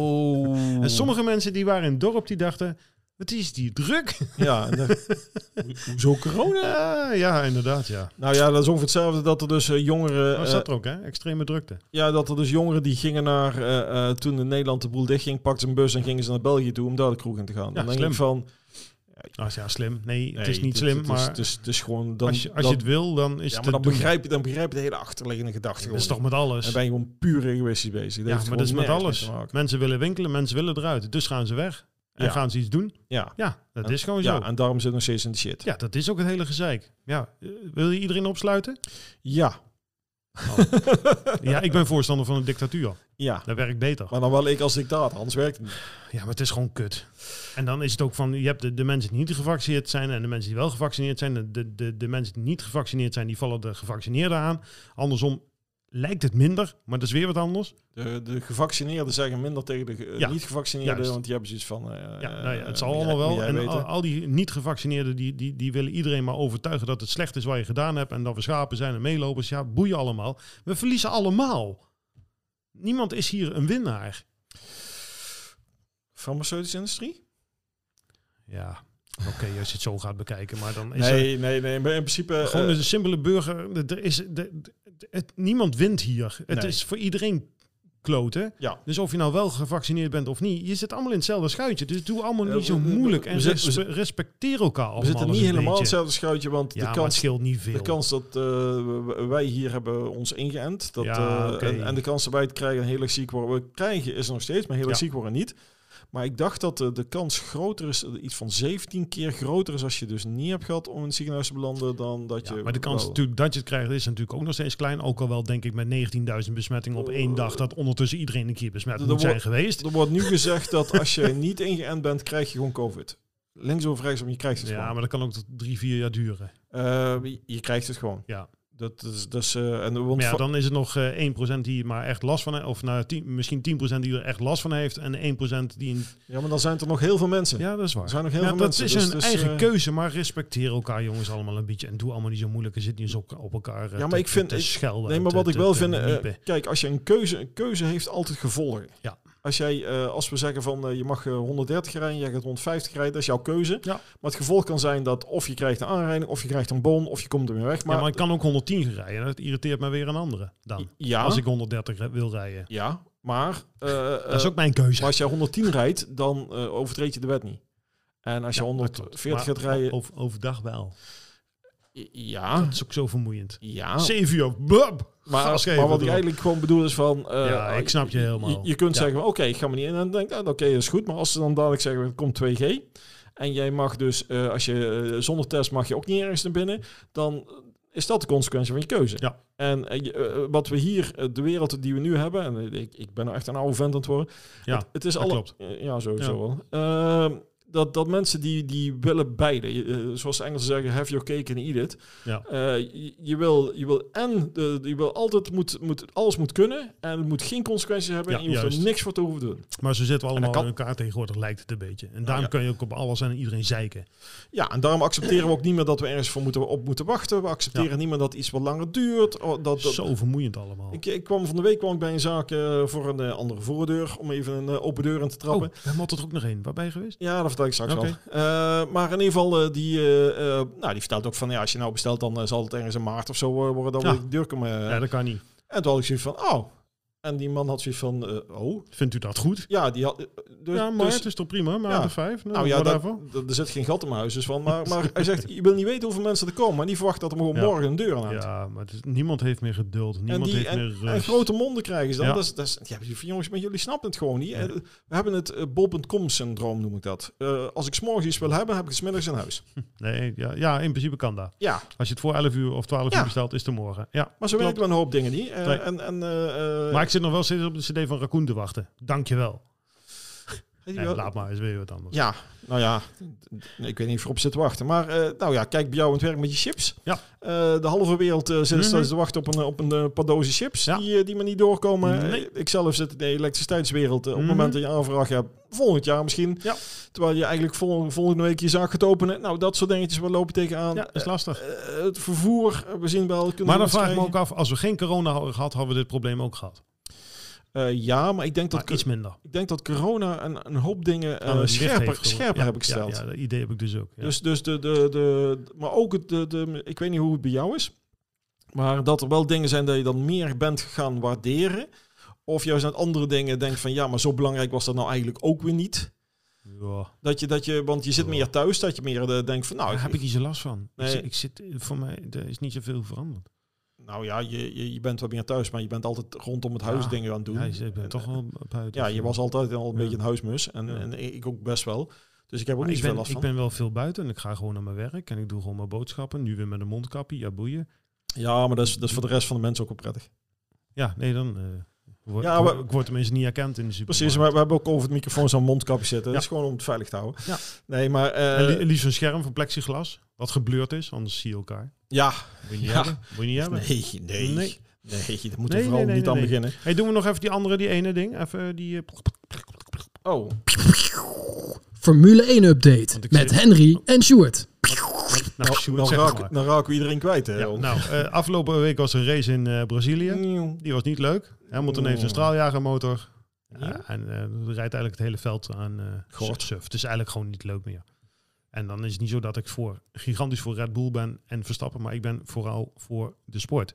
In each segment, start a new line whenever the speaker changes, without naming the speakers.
Oh.
En sommige mensen die waren in het dorp, die dachten... Wat is die druk?
Ja, en dan- hoezo corona?
Ah, ja, inderdaad, ja.
Nou ja, dat is ongeveer hetzelfde dat er dus eh, jongeren...
Oh, Dat
eh,
zat er ook, hè? Extreme drukte.
ja, dat er dus jongeren die gingen naar... eh, eh, toen in Nederland de boel dichtging, pakten ze een bus en gingen ze naar België toe om daar de kroeg in te gaan. dan denk
slim.
ik van...
Nou ja, slim. Nee, het is dus-
nee,
niet
dit-
slim,
het is-
maar
Het is, het is gewoon... Dan,
als, je, als
dat-
je het wil, dan is
ja,
het
maar dan
te doen.
begrijp, je, dan begrijp je de hele achterliggende gedachte
Dat is
gewoon
toch met alles.
En ben je gewoon puur egoïstisch bezig.
Ja,
heeft
maar dat is met
gewoon nergens
alles.
mee te maken.
Mensen willen winkelen, mensen willen eruit. Dus gaan ze weg. En
Ja.
gaan ze iets doen.
Ja.
Ja, dat
En-
is gewoon
ja,
zo.
en daarom zit het nog steeds in de shit.
Ja, dat is ook het hele gezeik. Ja, eh, wil je iedereen opsluiten?
Ja.
Ja, ik ben voorstander van een dictatuur.
ja.
Dat werkt beter.
Maar dan wel ik als dictator, anders werkt het niet.
Ja, maar het is gewoon kut. En dan is het ook van, je hebt de, de mensen die niet gevaccineerd zijn en de mensen die wel gevaccineerd zijn. De- De, de, de mensen die niet gevaccineerd zijn, die vallen de gevaccineerden aan. Andersom lijkt het minder, maar dat is weer wat anders.
De, de gevaccineerden zeggen minder tegen de
Ja,
niet-gevaccineerden,
juist.
want die hebben zoiets van... eh,
Ja, nou ja,
eh,
het zal
moet jij-
allemaal wel.
moet jij
En ah,
weten.
al, al die niet-gevaccineerden, die, die, die willen iedereen maar overtuigen dat het slecht is wat je gedaan hebt. En dat we schapen zijn en meelopers. Ja, boeien allemaal. We verliezen allemaal. Niemand is hier een winnaar.
Farmaceutische industrie?
Ja, oké, als je het zo gaat bekijken. Maar dan is er-
Nee, nee, nee. Maar in principe...
Gewoon dus
eh,
de simpele burger. de- Er is, de- de- het, niemand wint hier. Het
Nee.
is voor iedereen kloten.
Ja.
Dus of je nou wel gevaccineerd bent of niet, je zit allemaal in hetzelfde schuitje. Dus doe allemaal
Eh,
niet zo
we- we-
moeilijk.
we
En
zitten- we
respe- respecteer elkaar allemaal.
we zitten
eens
niet
een
helemaal
beetje.
hetzelfde schuitje, want de
Ja, maar het
kans...
scheelt niet veel.
De kans dat eh, wij hier hebben ons ingeënt, dat,
Ja,
eh,
oké.
en, en de kans dat wij het krijgen en heel erg ziek worden, we krijgen is er nog steeds, maar heel erg
Ja.
ziek worden niet. Maar ik dacht dat eh, de kans groter is, eh, iets van 17 keer groter is als je dus niet hebt gehad om in het ziekenhuis te belanden, dan dat
Ja,
je...
maar de kans
wel-
natuurlijk dat je het krijgt is natuurlijk ook nog steeds klein. Ook al wel denk ik met 19.000 besmettingen op één
Eh.
dag dat ondertussen iedereen een keer besmet
Er
moet zijn
wordt-
geweest.
Er wordt nu gezegd dat als je niet ingeënt bent, krijg je gewoon COVID. Links of rechts, maar je krijgt het
Ja,
gewoon.
maar dat kan ook tot drie, vier jaar duren.
Eh, je- je krijgt het gewoon.
Ja.
Dat is, dat is, eh, en, want
Maar ja,
va-
dan is het nog eh, 1% die maar echt last van heeft. Of nou, 10, misschien 10% die er echt last van heeft. En 1% die... Een...
ja, maar dan zijn er nog heel veel mensen.
Ja, dat is
Er
waar.
zijn nog heel
Ja,
veel
dat
mensen.
is
dus-
hun
dus,
eigen
eh,
keuze. Maar respecteer elkaar jongens allemaal een beetje. En doe allemaal niet zo moeilijk. En zit niet eens op, op elkaar eh,
Ja, maar
te-
ik vind-
te
ik-
schelden.
Nee,
en
maar
te-
wat ik
te-
wel
te
vind, eh,
miepen.
kijk, als je een keuze, een keuze heeft altijd gevolgen.
Ja.
Als jij, eh, als we zeggen van eh, je mag eh, 130 rijden, jij gaat 150 rijden, dat is jouw keuze.
Ja.
Maar het gevolg kan zijn dat of je krijgt een aanrijding, of je krijgt een bon, of je komt ermee weg. Maar,
ja, maar ik kan ook 110 rijden. en Dat irriteert me weer een andere dan.
ja,
Als ik 130 re- wil rijden.
ja, maar, eh, eh,
Dat is ook mijn keuze.
maar als jij 110 rijdt, dan eh, overtreed je de wet niet. En als je
Ja, dat klopt.
140
Maar
gaat rijden,
Over, overdag wel.
ja,
Dat is ook zo vermoeiend.
ja.
7 uur. blub,
Ah. Maar,
gas geven,
maar wat ik
bedoel.
eigenlijk gewoon bedoel is van... eh,
Ja, ik snap je helemaal.
Je, je kunt
Ja.
zeggen, van, oké, ik ga me niet in. En dan denk ik, ah, oké, dat is goed. Maar als ze dan dadelijk zeggen, er komt 2G. En jij mag dus, eh, als je eh, zonder test mag je ook niet ergens naar binnen. Dan is dat de consequentie van je keuze.
Ja.
En eh, je- eh, wat we hier, eh, de wereld die we nu hebben. En eh, ik, ik ben echt een oude vent aan het worden.
Ja,
het, het is
dat
alle,
klopt.
eh, Ja, sowieso
Ja.
wel. Ehm, dat, dat mensen die, die willen beide. Je- eh, zoals de Engelsen zeggen, have your cake and eat it.
Ja.
Eh, je, je wil, je wil en de, je wil altijd moet, moet alles moet kunnen en het moet geen consequenties hebben
Ja,
en je hoeft
juist.
er niks voor te hoeven doen.
Maar zo zitten we
En dat
allemaal
kan-
in elkaar tegenwoordig, lijkt het een beetje. En daarom
ja.
kun je ook op alles en iedereen zeiken.
Ja, en daarom accepteren we ook niet meer dat we ergens voor moeten, op moeten wachten. We accepteren niet meer dat iets wat langer duurt. oh, Dat, dat,
Zo vermoeiend allemaal.
ik, ik kwam van de week kwam ik bij een zaak eh, voor een eh, andere voordeur om even een eh, open deur in te
oh,
trappen.
we hadden er ook nog één. Waar ben je geweest?
Ja, dat vertel ik straks
Oké.
al. Eh, maar in ieder geval, eh, die, eh, eh, nou, die vertelt ook van ja, als je nou bestelt, dan eh, zal het ergens in maart of zo eh, worden dat
Ja.
we de deur komen. eh.
ja, dat kan niet.
En toen had ik zoiets van, oh. En die man had zoiets van, eh, oh,
Vindt u dat goed?
Ja, die had. Dus,
ja, maar
dus-
het is toch prima? Maar
ja.
de vijf? Nou,
nou ja, dat,
whatever.
dat- er zit geen gat in mijn huis. Dus van, maar, maar hij zegt: Je wil niet weten hoeveel mensen er komen. En die verwacht dat er gewoon
Ja.
morgen een deur aan hangt.
ja, maar het is- niemand heeft meer geduld. Niemand
die-
heeft meer
En
rust.
grote monden krijgen ze dan.
dus- Ja.
Dat is, dat is, ja, jongens, maar jullie snappen het gewoon niet.
Nee.
Eh, We hebben het eh, bol.com-syndroom, noem ik dat. Eh, als ik s'morgens iets wil hebben, heb ik het 's middags in huis.
Nee, ja, ja, in principe kan dat.
Ja,
Als je het voor 11 uur of 12
Ja.
uur bestelt, is het er morgen. Ja.
maar zo
Klopt.
werken we een hoop dingen niet. Eh,
Nee.
En, en eh, eh,
Maar ik zit nog wel steeds op de cd van Raccoon te wachten. Dankjewel.
die
Nee,
wel-
laat maar, is weer wat anders.
Ja, nou ja, nee, ik weet niet of je erop zit te wachten. Maar eh, nou ja, kijk bij jou aan het werk met je chips.
Ja.
Eh, de halve wereld eh, zit
Mhm.
steeds te wachten op een, op een eh, paar dozen chips
Ja.
die, eh, die maar niet doorkomen. Eh,
Nee.
Ik zelf zit in de elektriciteitswereld. eh, Op het
Mhm.
moment dat je aanvraag hebt, volgend jaar misschien.
Ja.
Terwijl je eigenlijk vol- volgende week je zaak gaat openen. Nou, dat soort dingetjes, we lopen tegenaan.
Ja, is lastig.
Eh, het vervoer, eh, we zien wel. kunnen
Maar
we
dan
iets
vraag ik me ook
krijgen.
af, als we geen corona hadden gehad, hadden we dit probleem ook gehad.
Eh, ja, maar ik denk dat,
Maar iets
ik,
minder.
ik denk dat corona een, een hoop dingen eh,
Aan het licht heeft
scherper,
geroepen.
scherper
Ja,
heb ik gesteld.
Ja, ja, dat idee heb ik dus ook. Ja.
Dus, dus de, de, de, maar ook het, de, de, ik weet niet hoe het bij jou is, maar dat er wel dingen zijn dat je dan meer bent gaan waarderen. Of juist aan andere dingen denkt van ja, maar zo belangrijk was dat nou eigenlijk ook weer niet.
ja.
Dat je, dat je, want je zit meer thuis, dat je meer eh, denkt van nou,
Daar
ik-
heb ik niet zo last van. Dus
Nee.
Ik, ik zit, eh, voor mij er is niet zoveel veranderd.
nou ja, je, je, je bent wel meer thuis, maar je bent altijd rondom het huis
Ja.
dingen aan het doen.
Ja, ik ben
En-
toch wel dus, buiten.
ja, je was altijd al een
Ja.
beetje een huismus en,
Ja.
en ik ook best wel. Dus ik heb ook
Maar
niet
ik
zoveel
ben,
last
ik
van.
ben wel veel buiten en ik ga gewoon naar mijn werk en ik doe gewoon mijn boodschappen. Nu weer met een mondkapje, ja boeien.
Ja, maar dat is, dat is voor de rest van de mensen ook wel prettig.
Ja, nee, dan eh word
Ja,
ik-
maar-
ik word tenminste niet herkend in de supermarkt.
Precies, maar we hebben ook over het microfoon zo'n mondkapje zitten.
Ja.
Dat is gewoon om het veilig te houden.
Ja.
Nee, maar... eh,
En li- liefst een scherm van plexiglas, wat gebleurd is, anders zie je elkaar.
ja.
Moet je niet
Ja.
hebben. Moet je niet hebben.
Nee, nee.
Nee.
Nee, daar moeten we
Nee,
vooral
nee,
niet
nee, nee,
aan
nee.
beginnen.
Hey, doen we nog even die andere, die ene ding. Even die... eh,
Nou, Oh,
Formule 1 update
Want ik
met
zit-
Henry en Stuart.
nou, Sjoerd,
dan,
zeg het
raak,
maar.
dan raken we iedereen kwijt, hè?
Ja,
Ron?
nou, eh, afgelopen week was er een race in eh, Brazilië.
Nieuw.
Die was niet leuk. Hamilton
Mm.
heeft een straaljagermotor.
Ja?
Eh, en eh, rijdt eigenlijk het hele veld aan eh
God.
surf. Het is eigenlijk gewoon niet leuk meer. En dan is het niet zo dat ik voor, gigantisch voor Red Bull ben en Verstappen. Maar ik ben vooral voor de sport.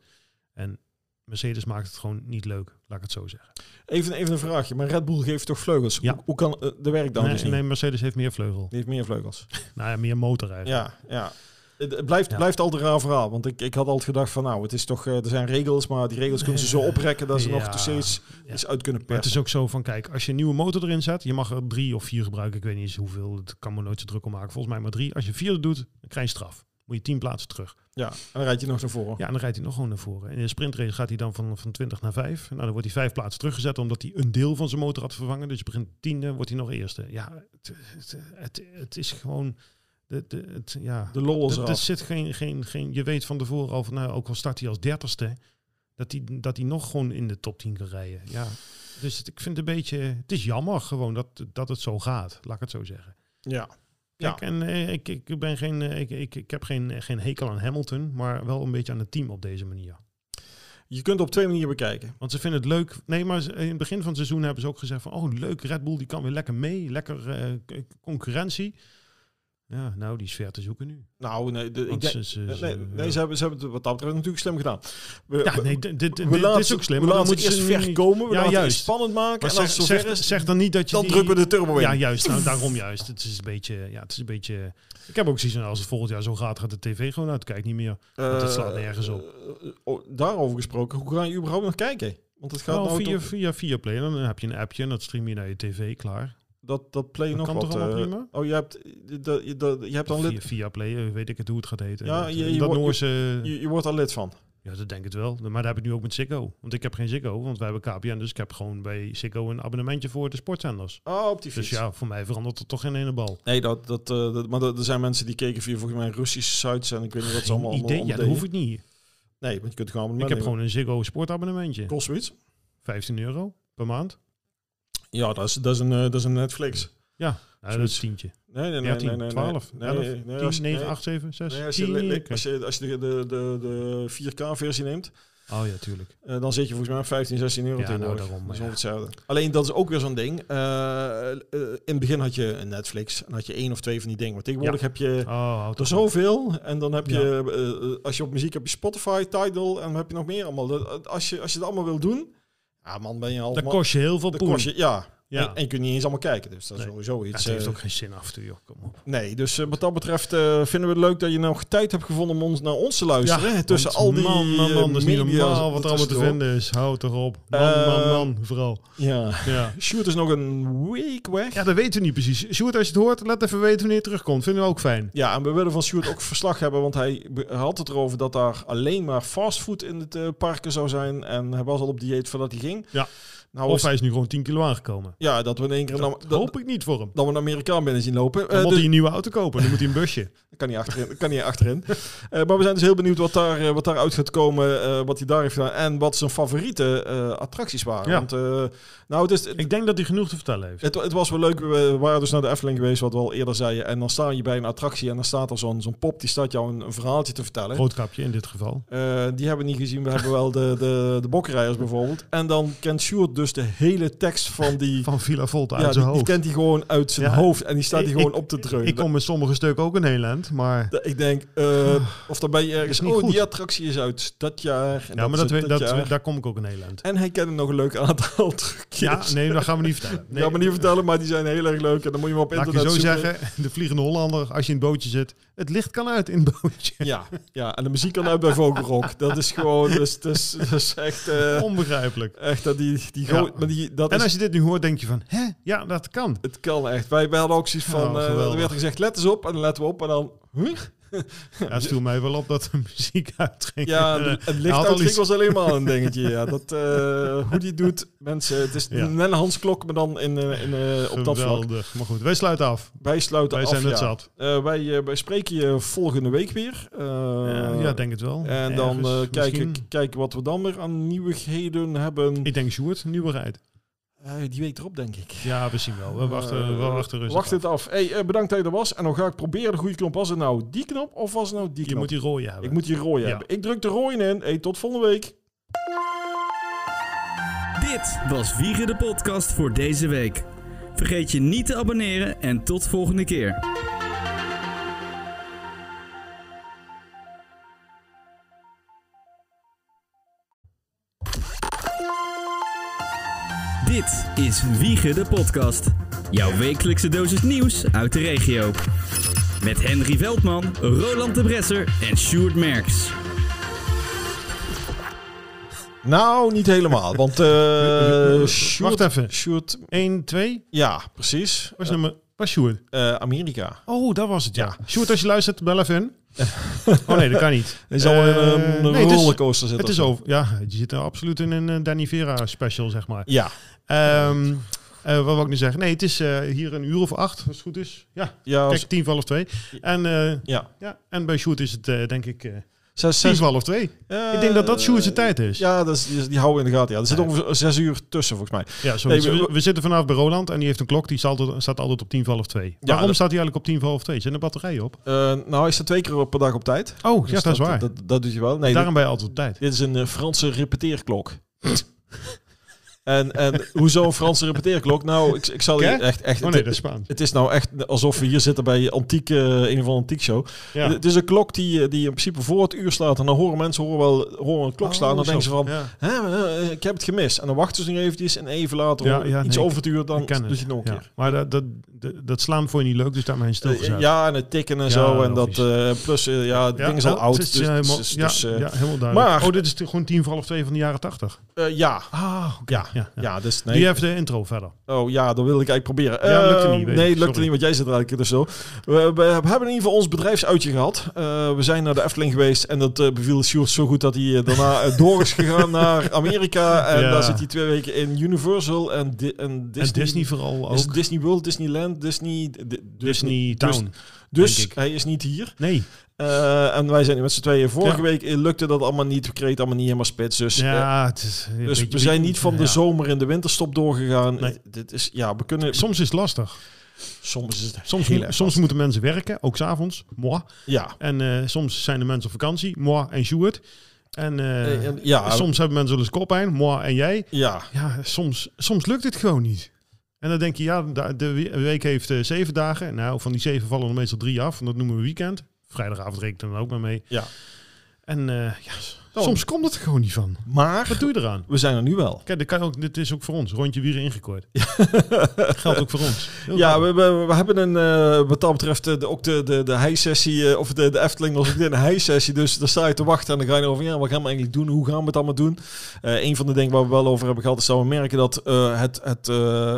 En Mercedes maakt het gewoon niet leuk. Laat ik het zo zeggen.
Even, even een vraagje, maar Red Bull geeft toch vleugels?
Ja.
Hoe, hoe kan eh, de werk dan
nee,
dus niet?
nee, Mercedes heeft meer vleugel.
Die heeft meer vleugels.
Nou ja, meer motor eigenlijk.
Ja, ja. Het het blijft,
Ja.
blijft altijd een raar verhaal. Want ik, ik had altijd gedacht van nou, het is toch, eh, er zijn regels, maar die regels kunnen ze zo oprekken dat ze nog
Ja.
nog steeds
Ja.
iets uit kunnen
Maar het
persen.
is ook zo van, kijk, als je een nieuwe motor erin zet, je mag er drie of vier gebruiken. Ik weet niet eens hoeveel, dat kan me nooit zo druk om maken. Volgens mij maar drie. Als je vier doet, dan krijg je straf. Moet je tien plaatsen terug.
Ja, en dan rijd je nog naar voren.
Ja, en dan rijdt hij nog gewoon naar voren. In de sprintrace gaat hij dan van, van 20 naar 5. Nou, dan wordt hij vijf plaatsen teruggezet omdat hij een deel van zijn motor had vervangen. Dus je begint tiende, wordt hij nog eerste. Ja, het, het, het, het is gewoon... De, de, het, ja,
De lol is
dat,
eraf.
dat zit geen, geen, geen, je weet van tevoren al, van, nou, ook al start hij als dertigste, dat hij, dat hij nog gewoon in de top 10 kan rijden. Ja. Dus het- ik vind het een beetje, het is jammer gewoon dat, dat het zo gaat, laat ik het zo zeggen.
Ja.
Kijk, en eh, ik, ik, ben geen, eh, ik, ik, ik heb geen, geen hekel aan Hamilton, maar wel een beetje aan het team op deze manier.
Je kunt het op twee manieren bekijken.
Want ze vinden het leuk. Nee, maar ze- in het begin van het seizoen hebben ze ook gezegd van... oh, leuk, Red Bull die kan weer lekker mee. Lekker eh, k- concurrentie. Ja, nou, die is ver te zoeken nu.
Nou, nee, de, ik
Want
denk,
ze- ze-
nee,
ze-
nee,
ja.
nee, ze hebben, ze hebben het wat dat betreft natuurlijk slim gedaan. We,
Ja,
we-
nee, dit, dit,
we
dit
laten
is
ze-
ook slim.
We
maar dan
laten ze
moeten
eerst
ze
ver
niet-
komen, we
Ja,
laten het
juist.
spannend maken.
Maar
En als
zeg,
het zover
zeg,
is,
zeg dan niet dat je
dan
die-
drukken we de turbo in.
Ja, juist. Nou, daarom juist. Het is een beetje... Ja, het is een beetje... Ik heb ook zoiets van, als het volgend jaar zo gaat, gaat de tv gewoon uit. Kijk niet meer. want het slaat
Eh,
nergens op.
eh, oh, daarover gesproken, hoe ga je überhaupt nog kijken? Want het gaat
Wel
nou
via,
toch-
via, via Play. Dan heb je een appje en dat stream je naar je tv. Klaar.
dat, dat play
Dat
nog
kan
wat.
toch allemaal
eh,
prima?
oh, je hebt, dat, je, dat, je hebt dan
Via,
lid,
via Play, eh, weet ik het hoe het gaat heten.
Ja,
dat,
je- je
dat
wordt-
Noorse...
je, je wordt al lid van.
Ja, dat denk ik wel. Maar dat heb ik nu ook met Ziggo. Want ik heb geen Ziggo, want wij hebben KPN. Dus ik heb gewoon bij Ziggo een abonnementje voor de sportzenders.
Oh, op die fiets.
Dus ja, voor mij verandert er toch geen ene bal.
Nee, dat, dat, eh, dat, maar dat- er zijn mensen die keken via volgens mij Russische sites en ik weet niet wat ze allemaal
Geen
allemaal
idee. Ja, dat
deden.
hoef ik niet.
Nee, want je kunt gewoon
Ik heb gewoon een Ziggo sportabonnementje.
Kost zoiets?
15 euro per maand.
Ja, dat is, dat, is een, eh, dat is een Netflix.
Nou, dat is tientje.
Nee, nee, nee.
13,
nee, nee,
12,
nee,
11,
nee,
10,
als-
9,
nee.
8, 7, 6,
Nee, als je,
10.
li- li-
oké.
als je, als je de, de, de, de 4K-versie neemt,
Oh ja, tuurlijk.
eh, dan zit je volgens mij op 15, 16 euro
Ja, nou,
tegenwoordig.
daarom,
dat is
ja.
ongeveer hetzelfde. Alleen dat is ook weer zo'n ding. Eh, eh, in het begin had je een Netflix en had je één of twee van die dingen. Maar tegenwoordig heb je
Oh, houd
er
toch op.
zoveel. En dan heb je,
Ja.
eh, eh, als je op muziek heb je Spotify, Tidal en dan heb je nog meer allemaal. Dat- als, je, als je het allemaal wil doen, ja man, ben je al...
Dat
man-
kost je heel veel
dat
poen.
kost je- ja.
Ja.
En, en je kunt niet eens allemaal kijken. Dus dat is
Nee.
sowieso
Ja,
iets...
het heeft
eh,
ook geen zin af en toe, joh. Kom op.
Nee, dus eh, wat dat betreft eh, vinden we het leuk dat je nog tijd hebt gevonden om ons naar ons te luisteren. hè, tussen
want
al die
Man, man, man, dat is niet
eh, media
normaal wat er allemaal te
tussendoor.
vinden is. Houd toch op. Man,
Eh,
man, man, vooral.
Ja.
Ja.
Shoot is nog een week weg.
Ja, dat weten we niet precies. Sjoerd, als je het hoort, laat even weten wanneer je terugkomt. Vinden we ook fijn.
Ja, en we willen van Sjoerd ook verslag hebben, want hij be- had het erover dat daar alleen maar fastfood in het eh, parken zou zijn. En hij was al op dieet voordat hij ging.
Ja.
Nou,
Of
is,
hij is nu gewoon 10 kilo aangekomen.
ja, dat we in één keer...
Dat
Dat, dat,
hoop ik niet voor hem.
dat we een Amerikaan binnen zien lopen.
Dan
Eh,
moet
dus-
hij een nieuwe auto kopen. Dan moet hij een busje.
Dat kan niet achterin. dat kan niet achterin. Eh, maar we zijn dus heel benieuwd wat daar, eh, wat daar uit gaat komen, eh, wat hij daar heeft gedaan en wat zijn favoriete eh, attracties waren.
Ja.
Want, eh, nou, het is,
Ik denk dat hij genoeg te vertellen heeft.
het, het was wel leuk. We waren dus naar de Efteling geweest, wat we al eerder zeiden. En dan sta je bij een attractie en dan staat er zo'n zo'n pop, die staat jou een, een verhaaltje te vertellen.
Roodkapje in dit geval.
Eh, die hebben we niet gezien. We hebben wel de, de, de bokkenrijders bijvoorbeeld. En dan kent Sjoerd dus de hele tekst van die...
Van Villa Volta
ja,
uit zijn
die, die
hoofd.
kent hij gewoon uit zijn
Ja.
hoofd. En die staat hij
Ik-
gewoon
ik-
op te dreunen.
Ik kom met sommige stukken ook in Nederland, maar...
Dat Ik denk, eh, of dan ben je
Is
ergens...
niet
Oh,
goed.
die attractie is uit dat jaar. En
ja, maar dat,
is
we-
uit
dat,
jaar.
daar kom ik ook in Nederland.
En hij kende nog een leuk aantal trucjes.
Ja, nee, dat gaan we niet vertellen.
Ik
Nee,
ga me niet vertellen, maar die zijn heel erg leuk. En dan moet je hem op
Laat ik je
internet
zo
zoeken.
zeggen, de Vliegende Hollander, als je in het bootje zit, het licht kan uit in het bootje.
Ja, ja, en de muziek kan uit bij Vogelrok. Dat is gewoon... Dus, dus, dus echt... eh,
Onbegrijpelijk.
echt dat die... die,
Ja.
goot- maar die dat
En
is
als je dit nu hoort, denk je van, hè? Ja, dat kan.
Het kan echt. Wij, wij hadden ook zoiets
Nou,
van, eh,
geweldig.
er werd gezegd, let eens op. En dan letten we op en dan... huh?
Ja, het viel mij wel op dat de muziek uitging.
Ja, de- het
Hij had al
lichtuitging
iets-
was helemaal een dingetje. Ja. Dat, eh, hoe die doet, mensen. Het is
Ja.
net een Hans Klok, maar dan in, eh, in, eh, op dat vlak.
Geweldig. Maar goed, wij sluiten af.
Wij sluiten
Wij
af.
zijn het
ja.
zat.
Eh, wij, eh, wij spreken je volgende week weer. Eh,
Eh, ja, denk het wel.
En dan eh,
Ergens,
kijken,
misschien.
kijken wat we dan weer aan nieuwigheden hebben.
Ik denk Sjoerd, nieuwigheid.
Eh, die week erop, denk ik.
Ja, we zien wel. We wachten, we
Eh,
wachten rustig
Wacht
af.
het af. Hey, eh, bedankt dat je er was. En dan ga ik proberen de goede knop. Was het nou die knop of was het nou die
Je
knop?
moet die rode hebben.
Ik moet die rooien
Ja.
hebben. Ik druk de rooien in. Hey, tot volgende week.
Dit was Wiegen de Podcast voor deze week. Vergeet je niet te abonneren en tot volgende keer. Dit is Wiegen de Podcast. Jouw wekelijkse dosis nieuws uit de regio. Met Henry Veldman, Roland de Bresser en Sjoerd Merks.
Nou, niet helemaal. Want eh Sjoerd,
Wacht even.
Sjoerd-
1, 2.
ja, precies.
Was nummer... Was Sjoerd?
Eh, Amerika.
Oh, dat was het, ja. Sjoerd, als je luistert, bel even in. oh nee, dat kan niet.
Er zal
Eh,
een, eh, een
nee, het is-
rollercoaster zitten.
Het is over. Ja, je zit er absoluut in een eh, Danny Vera special, zeg maar.
Ja,
Ehm, eh, wat wil ik nu zeggen? Nee, het is eh, hier een uur of acht, als het goed is. Ja,
ja,
kijk,
z-
tien voor half twee. En, eh,
ja.
ja, en bij Sjoerd is het, eh, denk ik, eh
Zes,
tien
zes,
voor half twee.
eh,
ik denk dat dat Sjoerd zijn tijd is. Ja,
Ja, dat is, die, die houden we in de gaten. Ja. Er zit ongeveer zes uur tussen, volgens mij.
sorry.
Nee, we-
we, we zitten vanavond bij Roland en die heeft een klok. Die staat altijd, staat altijd op tien voor half twee. Waarom
dat-
staat hij eigenlijk op tien voor half twee? Zijn er batterijen op?
Eh, nou, hij staat twee keer per dag op tijd.
Oh, ja,
Dus
dat is waar.
Dat, dat doet je wel. Nee,
Daarom ben je altijd op tijd.
Dit is een eh, Franse repeteerklok. en, en hoezo een Franse repeteerklok? Nou, ik, ik zal je
Hè?
echt... echt
Oh nee, dat is Spaans.
Het is nou echt alsof we hier zitten bij antiek, eh, een of andere antiek show.
Ja.
Het is een klok die, eh, die in principe voor het uur slaat. En dan horen mensen horen wel, horen een klok slaan. En dan
Oh,
denken ze
zo.
van,
Ja.
"Hè, eh, ik heb het gemist. En dan wachten ze nog eventjes. En even later,
Ja,
om
ja,
iets
nee,
over het uur, dan
Ik ken
doet je
het.
het nog een
Ja.
keer.
Maar dat, dat, dat, dat slaan vond je niet leuk, dus daar ben je
Eh,
stilgezet.
ja, en het tikken en
Ja,
zo. En dat,
logisch.
eh, plus, eh, ja, het ding is al
nou,
oud.
het is,
dus,
eh, helemaal,
dus-
ja,
dus, eh,
ja, helemaal duidelijk.
maar-
oh, dit is t- gewoon tien voor half twee van de jaren tachtig.
eh, ja,
Ah,
ja,
Ja, ja.
ja, dus nee.
Die heeft de intro verder.
Oh ja, dat wilde ik eigenlijk proberen.
Ja, lukte
Eh,
niet, weet
nee,
ik.
lukte
Sorry.
niet, want jij zit er eigenlijk dus zo. We, we hebben in ieder geval ons bedrijfsuitje gehad. Eh, we zijn naar de Efteling geweest en dat eh, beviel Sjoerd zo goed dat hij eh, daarna eh, door is gegaan naar Amerika. En
Ja.
daar zit hij twee weken in Universal en, Di- en Disney.
en Disney vooral ook.
Is het Disney World, Disneyland, Disney... D-
Disney Town.
Dus,
denk ik.
hij is niet hier.
nee.
Eh, en wij zijn met z'n tweeën. Vorige
Ja.
week eh, lukte dat allemaal niet. We kregen het allemaal niet helemaal spits. Dus eh,
Ja, het is een
dus
beetje-
we zijn niet van de
ja.
zomer in de winterstop doorgegaan. Eh,
Nee.
Dit is, ja, we kunnen,
Soms is het lastig.
soms is het
Soms,
heel
mo-
erg
soms moeten mensen werken, ook s'avonds. Moi.
Ja.
En eh, soms zijn de mensen op vakantie. Moi en Sjoerd. En, eh,
Eh, en- ja,
soms hebben mensen wel eens koppijn. Moi en jij.
ja,
ja, soms, soms lukt het gewoon niet. En dan denk je, ja, da- de we- week heeft eh, zeven dagen. Nou, van die zeven vallen er meestal drie af. En dat noemen we weekend. Vrijdagavond rekent er dan ook maar mee.
Ja. Oh.
En eh, ja, s- soms komt het er gewoon niet van.
maar
Wat doe je eraan?
we zijn er nu wel.
Kijk, dit, kan ook, dit is ook voor ons. Rondje wieren ingekoord. Geldt ook voor ons. Heel
Ja,
grappig.
we, we, we hebben een, eh, wat dat betreft eh, de, ook de, de, de hei-sessie, eh, of de, de Efteling was ook weer een hei-sessie. Dus daar sta je te wachten en dan ga je over, ja, wat gaan we eigenlijk doen? Hoe gaan we het allemaal doen? Eh, een van de dingen waar we wel over hebben gehad is dat we merken dat eh, het, het eh,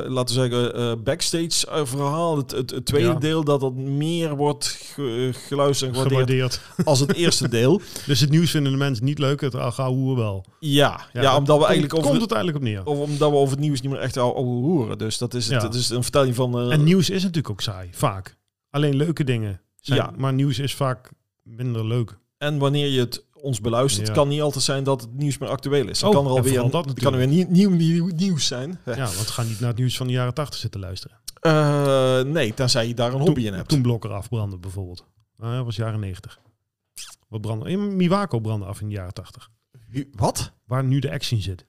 laten we zeggen, eh, backstage eh, verhaal, het, het, het tweede
Ja.
deel, dat dat meer wordt ge- geluisterd en gewaardeerd
gewaardeerd.
als het eerste deel.
Dus het nieuws vinden de mensen niet leuk. Het ahoehoer wel.
Ja, ja,
dat
omdat we
komt-
eigenlijk over...
komt het eigenlijk op neer.
Of omdat we over het nieuws niet meer echt over horen. Dus dat is, het,
Ja.
dat is een vertelling van... eh,
En nieuws is natuurlijk ook saai, vaak. Alleen leuke dingen. Zijn,
Ja.
Maar nieuws is vaak minder leuk.
En wanneer je het ons beluistert,
Ja.
kan niet altijd zijn dat het nieuws meer actueel is. Dan
Oh,
kan er
en
alweer
vooral dat
dat kan er weer nieuw, nieuw, nieuw nieuws zijn.
Ja, want ga niet naar het nieuws van de jaren 80 zitten luisteren.
Eh, nee, tenzij je daar een hobby in hebt.
Toen blokker afbranden bijvoorbeeld. Nou, dat was jaren 90. Wat brandde? in Miwaco brandde af in de jaren 80.
Wie- Wat?
Waar nu de action zit.